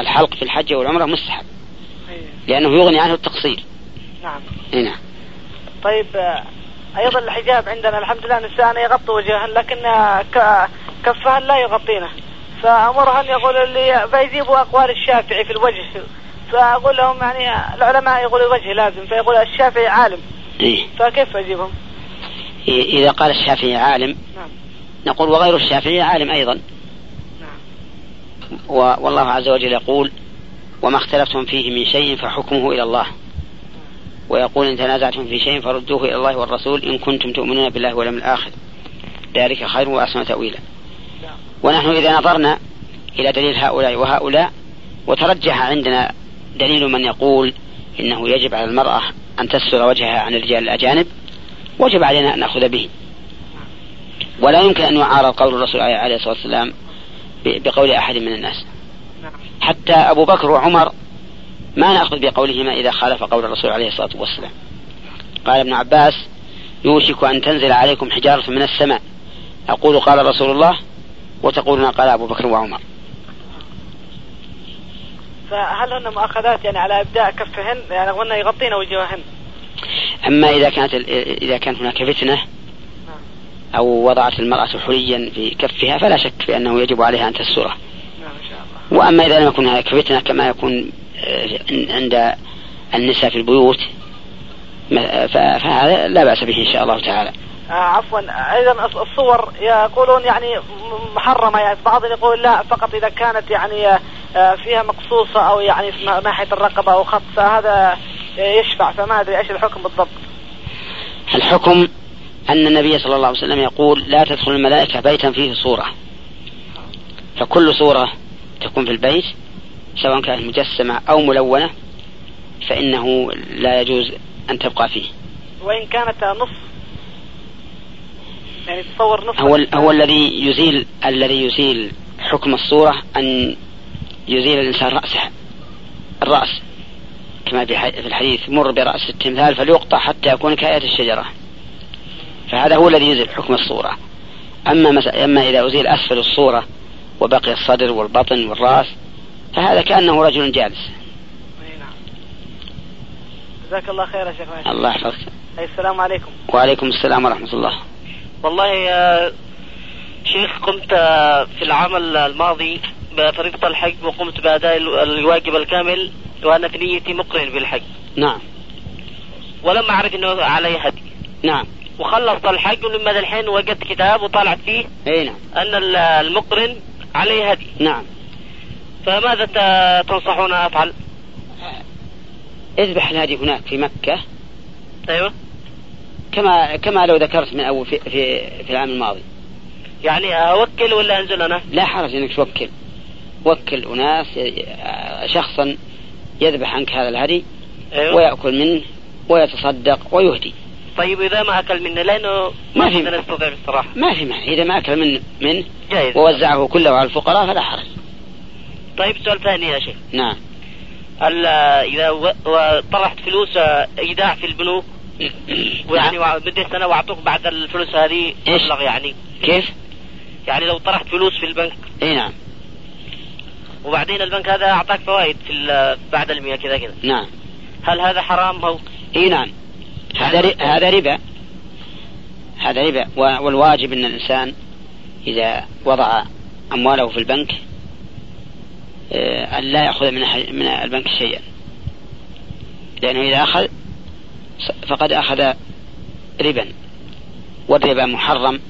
D: الحلق في الحج والعمرة مستحب
K: أيوه.
D: لأنه يغني عنه التقصير
K: نعم
D: هنا
K: طيب آه، ايضا الحجاب عندنا الحمد لله النساء يغطوا وجههن لكن آه، ك- كفهن لا يغطينه فامرهن يقول لي فيجيبوا اقوال الشافعي في الوجه فاقول لهم يعني آه، العلماء يقولوا الوجه لازم فيقول الشافعي عالم
D: إيه.
K: فكيف اجيبهم؟
D: إيه، إذا قال الشافعي عالم
K: نعم.
D: نقول وغير الشافعي عالم أيضا و- والله عز وجل يقول وما اختلفتم فيه من شيء فحكمه إلى الله ويقول إن تنازعتم في شيء فردوه إلى الله والرسول إن كنتم تؤمنون بالله واليوم الآخر ذلك خير وأحسن تأويلا ونحن إذا نظرنا إلى دليل هؤلاء وهؤلاء وترجح عندنا دليل من يقول إنه يجب على المرأة أن تستر وجهها عن الرجال الأجانب وجب علينا أن نأخذ به ولا يمكن أن يعارض قول الرسول عليه الصلاة والسلام ب- بقول أحد من الناس حتى أبو بكر وعمر ما نأخذ بقولهما إذا خالف قول الرسول عليه الصلاة والسلام قال ابن عباس يوشك أن تنزل عليكم حجارة من السماء أقول قال رسول الله وتقول ما قال أبو بكر وعمر
K: فهل هن مؤاخذات يعني على ابداء كفهن يعني وهن يغطين وجوههن؟
D: أما إذا كانت ال- إذا كانت هناك فتنة أو وضعت المرأة حليا في كفها فلا شك في أنه يجب عليها أن تستره
K: نعم ان شاء الله
D: وأما إذا لم يكن هناك فتنة كما يكون آه، عند النساء في البيوت ما- ف- فهذا لا بأس به إن شاء الله تعالى
K: آه عفوا ايضا الص- الصور يقولون يعني م- محرمه يعني بعضهم يقول لا فقط اذا كانت يعني آه، آه، فيها مقصوصه او يعني في م- ناحيه الرقبه او خط فهذا آه، يشفع فما ادري ايش الحكم بالضبط
D: الحكم أن النبي صلى الله عليه وسلم يقول لا تدخل الملائكة بيتا فيه صورة فكل صورة تكون في البيت سواء كانت مجسمة أو ملونة فإنه لا يجوز أن تبقى فيه
K: وان كانت آه، نصف يعني تصور نصف
D: هو هو الذي يزيل الذي يزيل حكم الصورة أن يزيل الإنسان رأسه الرأس كما في ح- في الحديث مر برأس التمثال فليقطع حتى يكون كآية الشجرة فهذا هو الذي يزيل حكم الصورة أما مس... أما إذا أزيل أسفل الصورة وبقي الصدر والبطن والرأس فهذا كأنه رجل جالس
K: جزاك الله خير يا شيخ ماشي.
D: الله يحفظك
K: أي السلام عليكم
D: وعليكم السلام ورحمة الله
Q: والله يا شيخ قمت آه، في العام الماضي بفريضة الحج وقمت بأداء ال- الواجب الكامل وأنا في نيتي مقرن بالحج
D: نعم
Q: ولم أعرف أنه علي هدي
D: نعم
Q: وخلصت الحج ولما ذا الحين وجدت كتاب وطالعت فيه
D: أي نعم
Q: أن ال- المقرن عليه هدي
D: نعم
Q: فماذا ت- تنصحون أفعل؟
D: اذبح الهدي هناك في مكة
Q: أيوه
D: كما كما لو ذكرت من أول في في, في العام الماضي
Q: يعني أوكل ولا أنزل أنا؟
D: لا حرج انك توكل وكل اناس آه، شخصا يذبح عنك هذا الهدي
Q: أيوه
D: وياكل منه ويتصدق ويهدي
Q: طيب إذا ما أكل منه لأنه
D: ما في-
Q: أقدر أستطيع بصراحة
D: ما في معنى اذا ما اكل منه منه
Q: جائز
D: ووزعه كله على الفقراء فلا حرج
Q: طيب سؤال ثاني يا شيخ
D: نعم
Q: هل اذا و- و- طرحت فلوس آه، ايداع في البنوك ويعني وع- مدة سنه واعطوك بعد الفلوس هذه
D: نعم. إيش؟
Q: مبلغ يعني
D: نعم. كيف؟
Q: يعني لو طرحت فلوس في البنك
D: اي نعم
Q: وبعدين البنك هذا أعطاك فوائد في ال- بعد المية كذا كذا
D: نعم
Q: هل هذا حرام أو
D: اي نعم
Q: يعني
D: هذا ر- هذا ربا هذا ربا و- والواجب ان الانسان اذا وضع امواله في البنك آه، ان لا ياخذ من أح- من البنك شيئا لانه اذا اخذ س- فقد اخذ ربا والربا محرم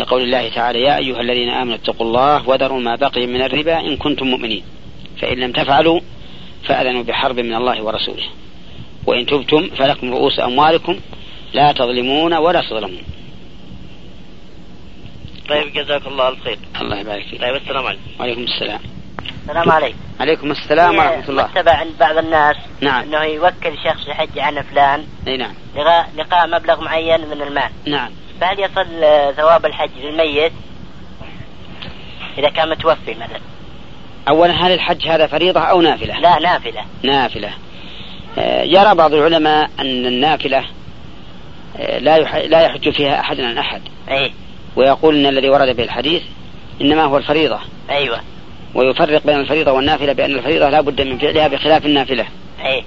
D: لقول الله تعالى يا ايها الذين امنوا اتقوا الله وذروا ما بقي من الربا ان كنتم مؤمنين فان لم تفعلوا فاذنوا بحرب من الله ورسوله وإن تبتم فلكم رؤوس أموالكم لا تظلمون ولا تظلمون
Q: طيب جزاك الله ألف خير
D: الله يبارك فيك
Q: طيب السلام عليكم
D: وعليكم السلام
R: السلام عليكم إيه،
D: عليكم السلام ورحمة الله
R: متبع عند بعض الناس
D: نعم.
R: انه يوكل شخص يحج عن فلان
D: أي نعم
R: لقاء, لقاء مبلغ معين من المال
D: نعم
R: فهل يصل آه، ثواب الحج للميت اذا كان متوفي مثلا
D: أولا هل الحج هذا فريضة أو نافلة
R: لا نافله
D: نافلة آه، يرى بعض العلماء أن النافلة آه، لا يح- لا يحج فيها أحد عن أحد
R: اي
D: ويقول أن الذي ورد به الحديث إنما هو الفريضة
R: ايوه
D: ويفرق بين الفريضة والنافلة بأن الفريضة لا بد من فعلها بخلاف النافلة
R: اي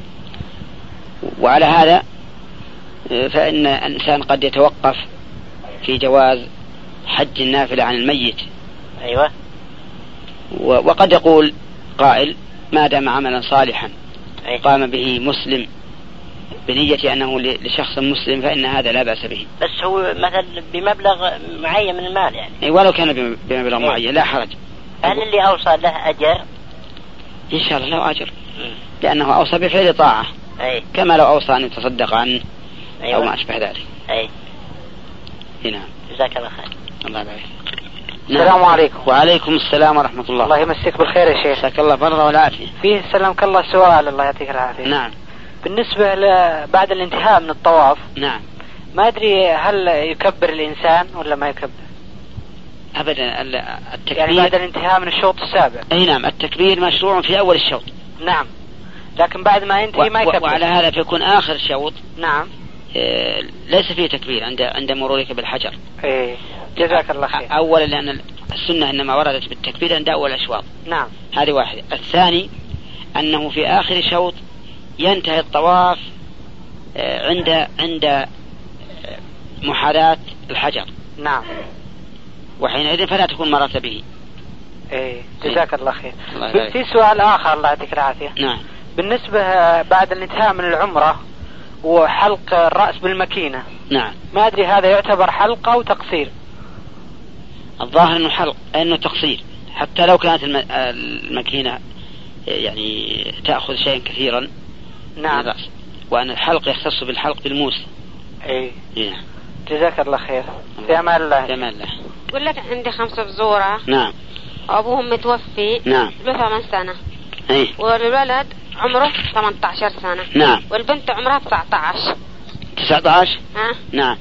D: وعلى هذا آه، فإن الإنسان قد يتوقف في جواز حج النافلة عن الميت
R: ايوه
D: و- وقد يقول قائل ما دام عملا صالحا
R: أي.
D: قام به مسلم بنية أنه ل- لشخص مسلم فإن هذا لا بأس به
R: بس هو مثلا بمبلغ معين من المال يعني
D: أي إيه، ولو كان بم- بمبلغ
R: أي.
D: معين لا حرج
R: هل اللي اوصى له اجر؟
D: إن شاء الله له أجر لأنه أوصى بفعل طاعة
R: اي
D: كما لو أوصى أن يتصدق عنه
R: أيوة.
D: أو ما أشبه ذلك
R: اي
D: إي نعم
R: إيه. جزاك الله خير
D: الله يبارك
M: السلام عليكم
D: وعليكم السلام ورحمة الله
M: الله يمسك بالخير يا شيخ
D: جزاك الله برا والعافية
M: فيه سلمك الله سؤال الله يعطيك العافية
D: نعم
M: بالنسبة ل- بعد الانتهاء من الطواف
D: نعم
M: ما أدري هل يكبر الإنسان ولا ما يكبر
D: أبدا ال- التكبير
M: يعني بعد الانتهاء من الشوط السابع
D: أي نعم التكبير مشروع في أول الشوط
M: نعم لكن بعد ما ينتهي ما
D: و-
M: يكبر
D: وعلى هذا فيكون آخر شوط
M: نعم
D: آه، ليس فيه تكبير عند عند مرورك بالحجر
M: إيه جزاك الله خير
D: اولا لان السنه انما وردت بالتكبير عند اول الاشواط
M: نعم
D: هذه واحده الثاني انه في اخر شوط ينتهي الطواف آه، عند عند آه، محاذاه الحجر
M: نعم
D: وحينئذ فلا تكون مررت به
M: إيه جزاك الله خير
D: الله
M: في
D: يبارك
M: في سؤال آخر الله يعطيك العافية
D: نعم
M: بالنسبة بعد الانتهاء من العمرة وحلق الرأس بالمكينة
D: نعم
M: ما أدري هذا يعتبر حلق أو تقصير
D: الظاهر انه حلق انه تقصير حتى لو كانت الم- الماكينه يعني تاخذ شيئا كثيرا
M: نعم.
D: من الرأس. وان الحلق يختص بالحلق بالموس
M: إيه
D: نعم
M: جزاك الله خير في أمان الله
D: في امان الله
S: يقول لك عندي خمسة بزورة
D: نعم
S: وأبوهم متوفي
D: نعم
S: له ثمان سنة
D: اي
S: والولد عمره 18 سنة
D: نعم.
S: والبنت عمرها 19
D: 19
S: ها
D: نعم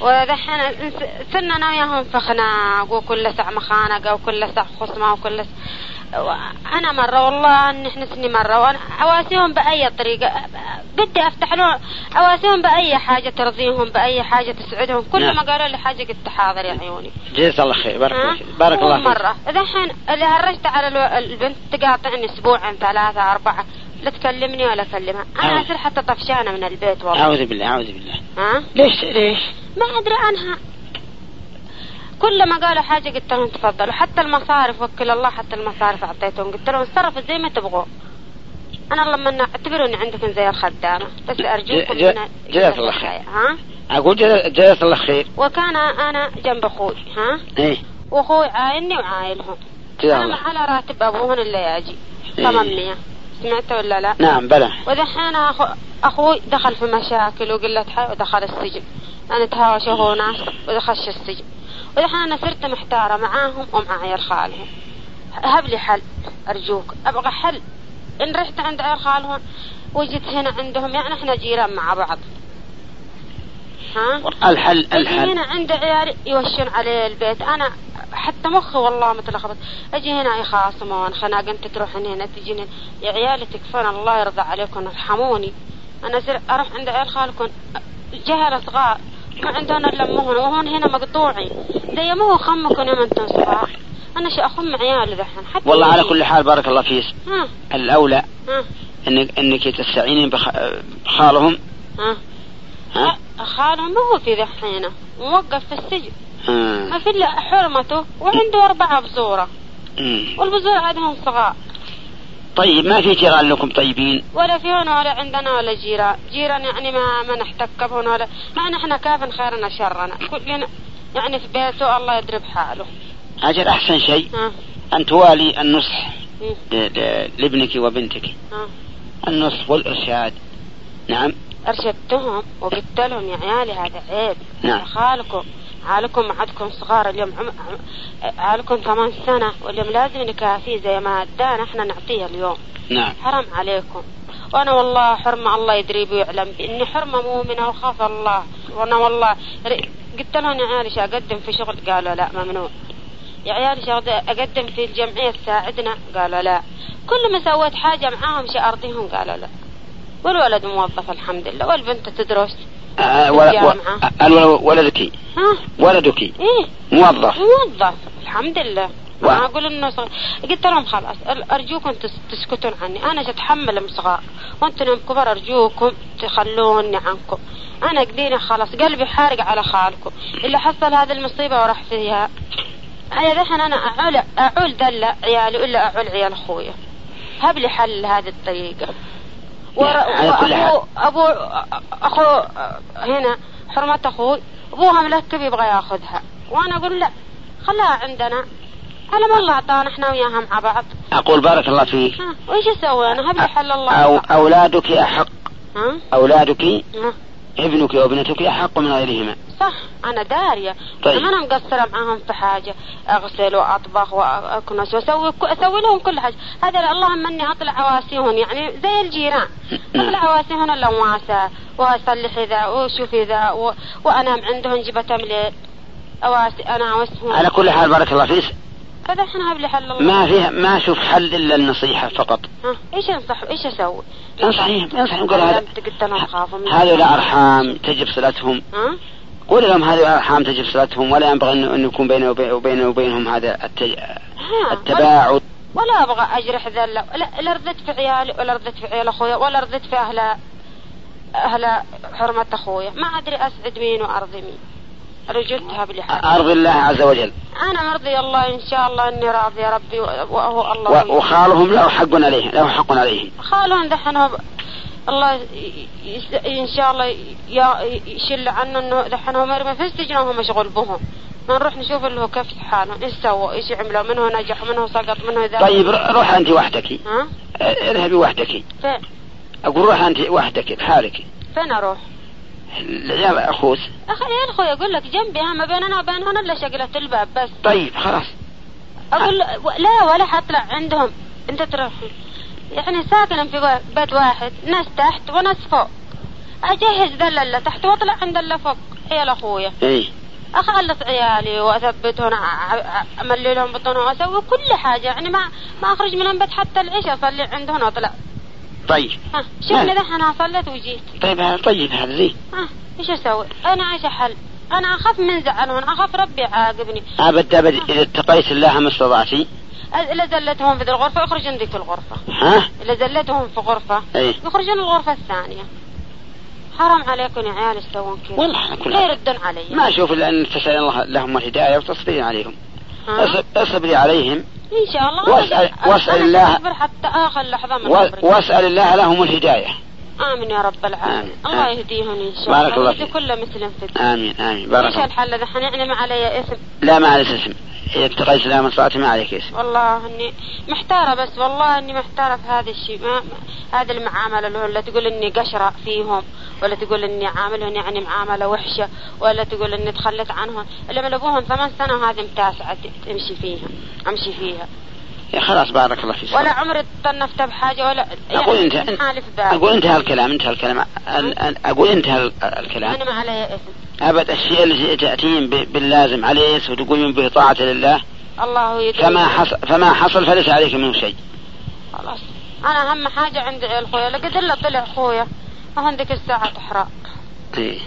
S: ودحين الإنس- صرنا أنا وياهم في خناق وكل ساعة مخانقة وكل ساعة خصمة وكل س- أنا مرة والله إن حنسني مرة وأنا أواسيهم بأي طريقة بدي أفتح لهم أواسيهم بأي حاجة ترضيهم بأي حاجة تسعدهم كل
D: نعم.
S: ما قالوا لي حاجة قلت حاضر يا عيوني
D: جزاك الله خير بارك الله
S: ها؟
D: فيك بارك الله
S: أول مرة الحين اللي هرجت على الو... البنت تقاطعني اسبوعين ثلاثة أربعة لا تكلمني ولا اكلمها، انا
D: أعوذ.
S: اصير حتى طفشانه من البيت
D: فيك
S: والله.
D: اعوذ بالله اعوذ بالله
S: ها؟
D: ليش ليش؟
S: ما ادري عنها. كل ما قالوا حاجة قلت لهم تفضلوا، حتى المصارف وكل الله حتى المصارف اعطيتهم، قلت لهم اتصرفوا زي ما تبغوا. انا لما اعتبروني عندكم زي الخدامة، بس ارجوكم
D: ج-
S: من-
D: جزاك الله خير
S: ها؟
D: اقول جزا- جزاك الله خير
S: وكان انا جنب اخوي، ها؟
D: ايه
S: واخوي عايلني وعايلهم.
D: جزاك
S: أنا
D: الله
S: على راتب أبوهن اللي يجي
D: إيه.
S: 800 سمعت ولا لا؟
D: نعم بلى
S: ودحين أخو... أخوي دخل في مشاكل وقلة حي ودخل السجن أنا تهاوش هو ناس ودخلش السجن ودحين أنا صرت محتارة معاهم ومع عيال خالهم هب لي حل أرجوك أبغى حل إن رحت عند عيال خالهم وجيت هنا عندهم يعني إحنا جيران مع بعض ها؟
D: الحل الحل
S: اجي إيه، هنا عند عيالي يوشون علي البيت انا حتى مخي والله متلخبط اجي هنا يخاصمون خناق انت تروحين هنا تجين هنا. يا عيالي تكفون الله يرضى عليكم ارحموني انا زر اروح عند عيال خالكم جهل صغار ما عندهم الا امهن وهون هنا مقطوعين زي ما هو خمكم يوم انتم صغار انا شو اخم عيالي ذحين حتى
D: والله على
S: يجي.
D: كل حال بارك الله فيك
S: ها
D: الاولى
S: ها
D: انك انك تستعينين بخ- بخالهم
S: ها
D: ها؟
S: خالهم ما هو في ذحينه موقف في السجن
D: آه.
S: ما في الا حرمته وعنده اربعه بزوره
D: مم.
S: والبزور عندهم صغار
D: طيب ما في جيران لكم طيبين
S: ولا في هنا ولا عندنا ولا جيران جيران يعني ما ما نحتك بهن ولا ما نحن كاف خيرنا شرنا كلنا يعني في بيته الله يدرب حاله
D: اجل احسن شيء
S: ها
D: ان توالي النصح
S: مم.
D: ل- ل- لابنك وبنتك
S: ها
D: النصح والارشاد نعم
S: أرشدتهم وقلت لهم يا عيالي هذا عيب
D: نعم.
S: يا خالكم عالكم عندكم صغار اليوم عم... عم- عالكم ثمان سنة واليوم لازم نكافيه زي ما أدانا احنا نعطيه اليوم
D: نعم
S: حرام عليكم وأنا والله حرمة الله يدري بي ويعلم بي إني حرمة مؤمنة وخاف الله وأنا والله ر- قلت لهم يا عيالي شو أقدم في شغل قالوا لا ممنوع يا عيالي شو أقد- أقدم في الجمعية تساعدنا قالوا لا كل ما سويت حاجة معاهم شي أرضيهم قالوا لا والولد موظف الحمد لله والبنت تدرس
D: آه، ولا- و-
S: الجامعة.
D: آه، الو- ولدك
S: ها
D: ولدك
S: ايه
D: موظف
S: موظف الحمد لله
D: و-
S: انا اقول انه صغير قلت لهم خلاص أر- ارجوكم تس- تسكتون عني انا اتحمل صغار وانتم يوم نعم كبار ارجوكم تخلوني عنكم انا قدينا خلاص قلبي حارق على خالكم اللي حصل هذه المصيبه وراح فيها انا ذحين انا اعول اعول دلة عيالي ولا اعول عيال اخويا هب لي حل هذه الطريقه ورا
D: يعني على كل
S: وابو ابو اخو هنا حرمة اخوي ابوها مركب يبغى ياخذها وانا اقول لا خلاها عندنا على ما الله اعطانا احنا وياها مع بعض
D: اقول بارك الله فيك
S: ها وايش اسوي انا هب لي حل الله
D: أو اولادك احق
S: ها
D: اولادك
S: ها
D: ابنك وابنتك احق من غيرهما
S: صح انا داريه
D: طيب.
S: طيب. انا مقصره معاهم في حاجه اغسل واطبخ واكنس واسوي اسوي لهم كل حاجه هذا اللهم اني اطلع اواسيهم يعني زي الجيران اطلع اواسيهم اللواسه واصلح ذا واشوف ذا و... وانام عندهم جبة ليل اواسي انا اوسهم
D: على كل حال بارك الله فيك
S: كذا احنا هب لي حل الله
D: ما فيها ما اشوف حل الا النصيحه فقط
S: ها ايش انصح ايش اسوي؟
D: انصحيهم انصحيهم قول هذا
S: علمت قلت لهم خافوا مني.
D: هذول ارحام تجب صلتهم
S: ها
D: قول لهم هذول ارحام تجب صلتهم ولا ينبغي ان أن يكون بين وبين, وبين وبينهم هذا التج...
S: ها.
D: التباعد
S: ولا ابغى اجرح ذله لا لا ردت في عيالي ولا ردت في عيال اخويا ولا ردت في اهل اهل حرمه اخويا ما ادري اسعد مين وارضي مين رجلتها بالحق
D: ارضي الله عز وجل
S: انا مرضي الله ان شاء الله اني راضيه ربي وهو الله
D: و- وخالهم له حق عليهم له حق عليهم
S: خالهم دحين هو ب- الله ي- يس- ان شاء الله ي- ي- يشل عنه انه دحين هو مرمي في السجن وهو مشغول بهم ما نروح نشوف اللي هو كيف حالهم ايش سووا ايش عملوا من هو نجح من هو سقط من هو ذا
D: طيب ر- روح انت وحدك
S: ها
D: اه، اذهبي وحدك
S: فين
D: اقول روح انت وحدك بحالك
S: فين اروح؟
D: العيال اخوس
S: اخي يا اخوي اقول لك جنبي ها ما بين انا وبين هنا الا شقلة الباب بس
D: طيب خلاص
S: اقول له- و- لا ولا حطلع عندهم انت تروح يعني ساكن في وا- بيت واحد ناس تحت وناس فوق اجهز ذا اللي تحت واطلع عند اللي فوق عيال اخويا
D: اي
S: اخلص عيالي واثبتهم ع- ع- امللهم بطنهم واسوي كل حاجه يعني ما ما اخرج من البيت حتى العشاء اصلي عندهم واطلع
D: طيب
S: ها
D: نعم.
S: شوفني ذحين انا صليت وجيت
D: طيب هذا طيب هذا زين
S: ها ايش اسوي؟ انا عايشه حل انا اخاف من زعلهم اخاف ربي يعاقبني
D: ابد ابد اذا اتقيت الله ما استطعتي
S: إذا زلتهم في ذي الغرفة يخرجون ذيك الغرفة
D: ها
S: إذا زلتهم في غرفة
D: ايه
S: يخرجون الغرفة الثانية حرام عليكم يا عيال إيش تسوون كذا
D: والله على كل
S: لا
D: حال.
S: يردون علي
D: ما اشوف الا ان تسال الله لهم الهدايه وتصبري عليهم
S: ها؟
D: أصب- اصبري عليهم
S: إن شاء الله
D: واسأل-
S: أنا-
D: واسأل
S: أنا
D: الله.
S: أصبر حتى آخر لحظة من
D: و-
S: عمري.
D: واسال الله لهم الهدايه
S: آمين يا رب العالمين
D: آمين.
S: الله
D: آمين.
S: يهديهم إن شاء
D: بارك الله
S: ويهدي
D: فيك.
S: كل مسلم في الدين
D: امين امين بارك
S: إيش
D: الله
S: الحل ذحين يعني ما علي إثم
D: لا ما عليك اسم اذا اتقيت الله ما استطعت ما عليك اسم
S: والله اني محتاره بس والله اني محتاره في هذا الشيء ما ما- هذه المعامله اللي هو لا تقول اني قشره فيهم ولا تقول اني عاملهم يعني معامله وحشه ولا تقول اني تخلت عنهم اللي من ابوهم ثمان سنه وهذه متاسعه ت- تمشي فيها امشي فيها
D: يا خلاص بارك الله فيك
S: ولا عمري تطنفت بحاجه ولا
D: أقول أنت- أنت-
S: حالي في بالي
D: اقول انتهى الكلام انتهى الكلام أن- أن- اقول انتهى ال- الكلام
S: انا ما علي اثم
D: ابد الشيء اللي تاتيهم ب- باللازم عليه وتقومين به طاعه لله
S: الله يدري
D: فما حصل فما حصل فليس عليك منه شيء
S: خلاص انا اهم حاجه عندي عيال خويا لقد الا طلع خويا هون ذيك الساعه تحرق
D: إيه.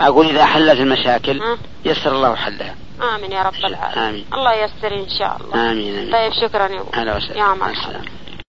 D: أقول إذا حلت المشاكل يسر الله حلها
S: آمين يا رب العالمين
D: آمين
S: الله ييسر إن شاء الله
D: آمين آمين
S: طيب شكرا يا أبو
D: أهلا وسهلا
S: يا
D: مع
S: مرحبا
D: السلامة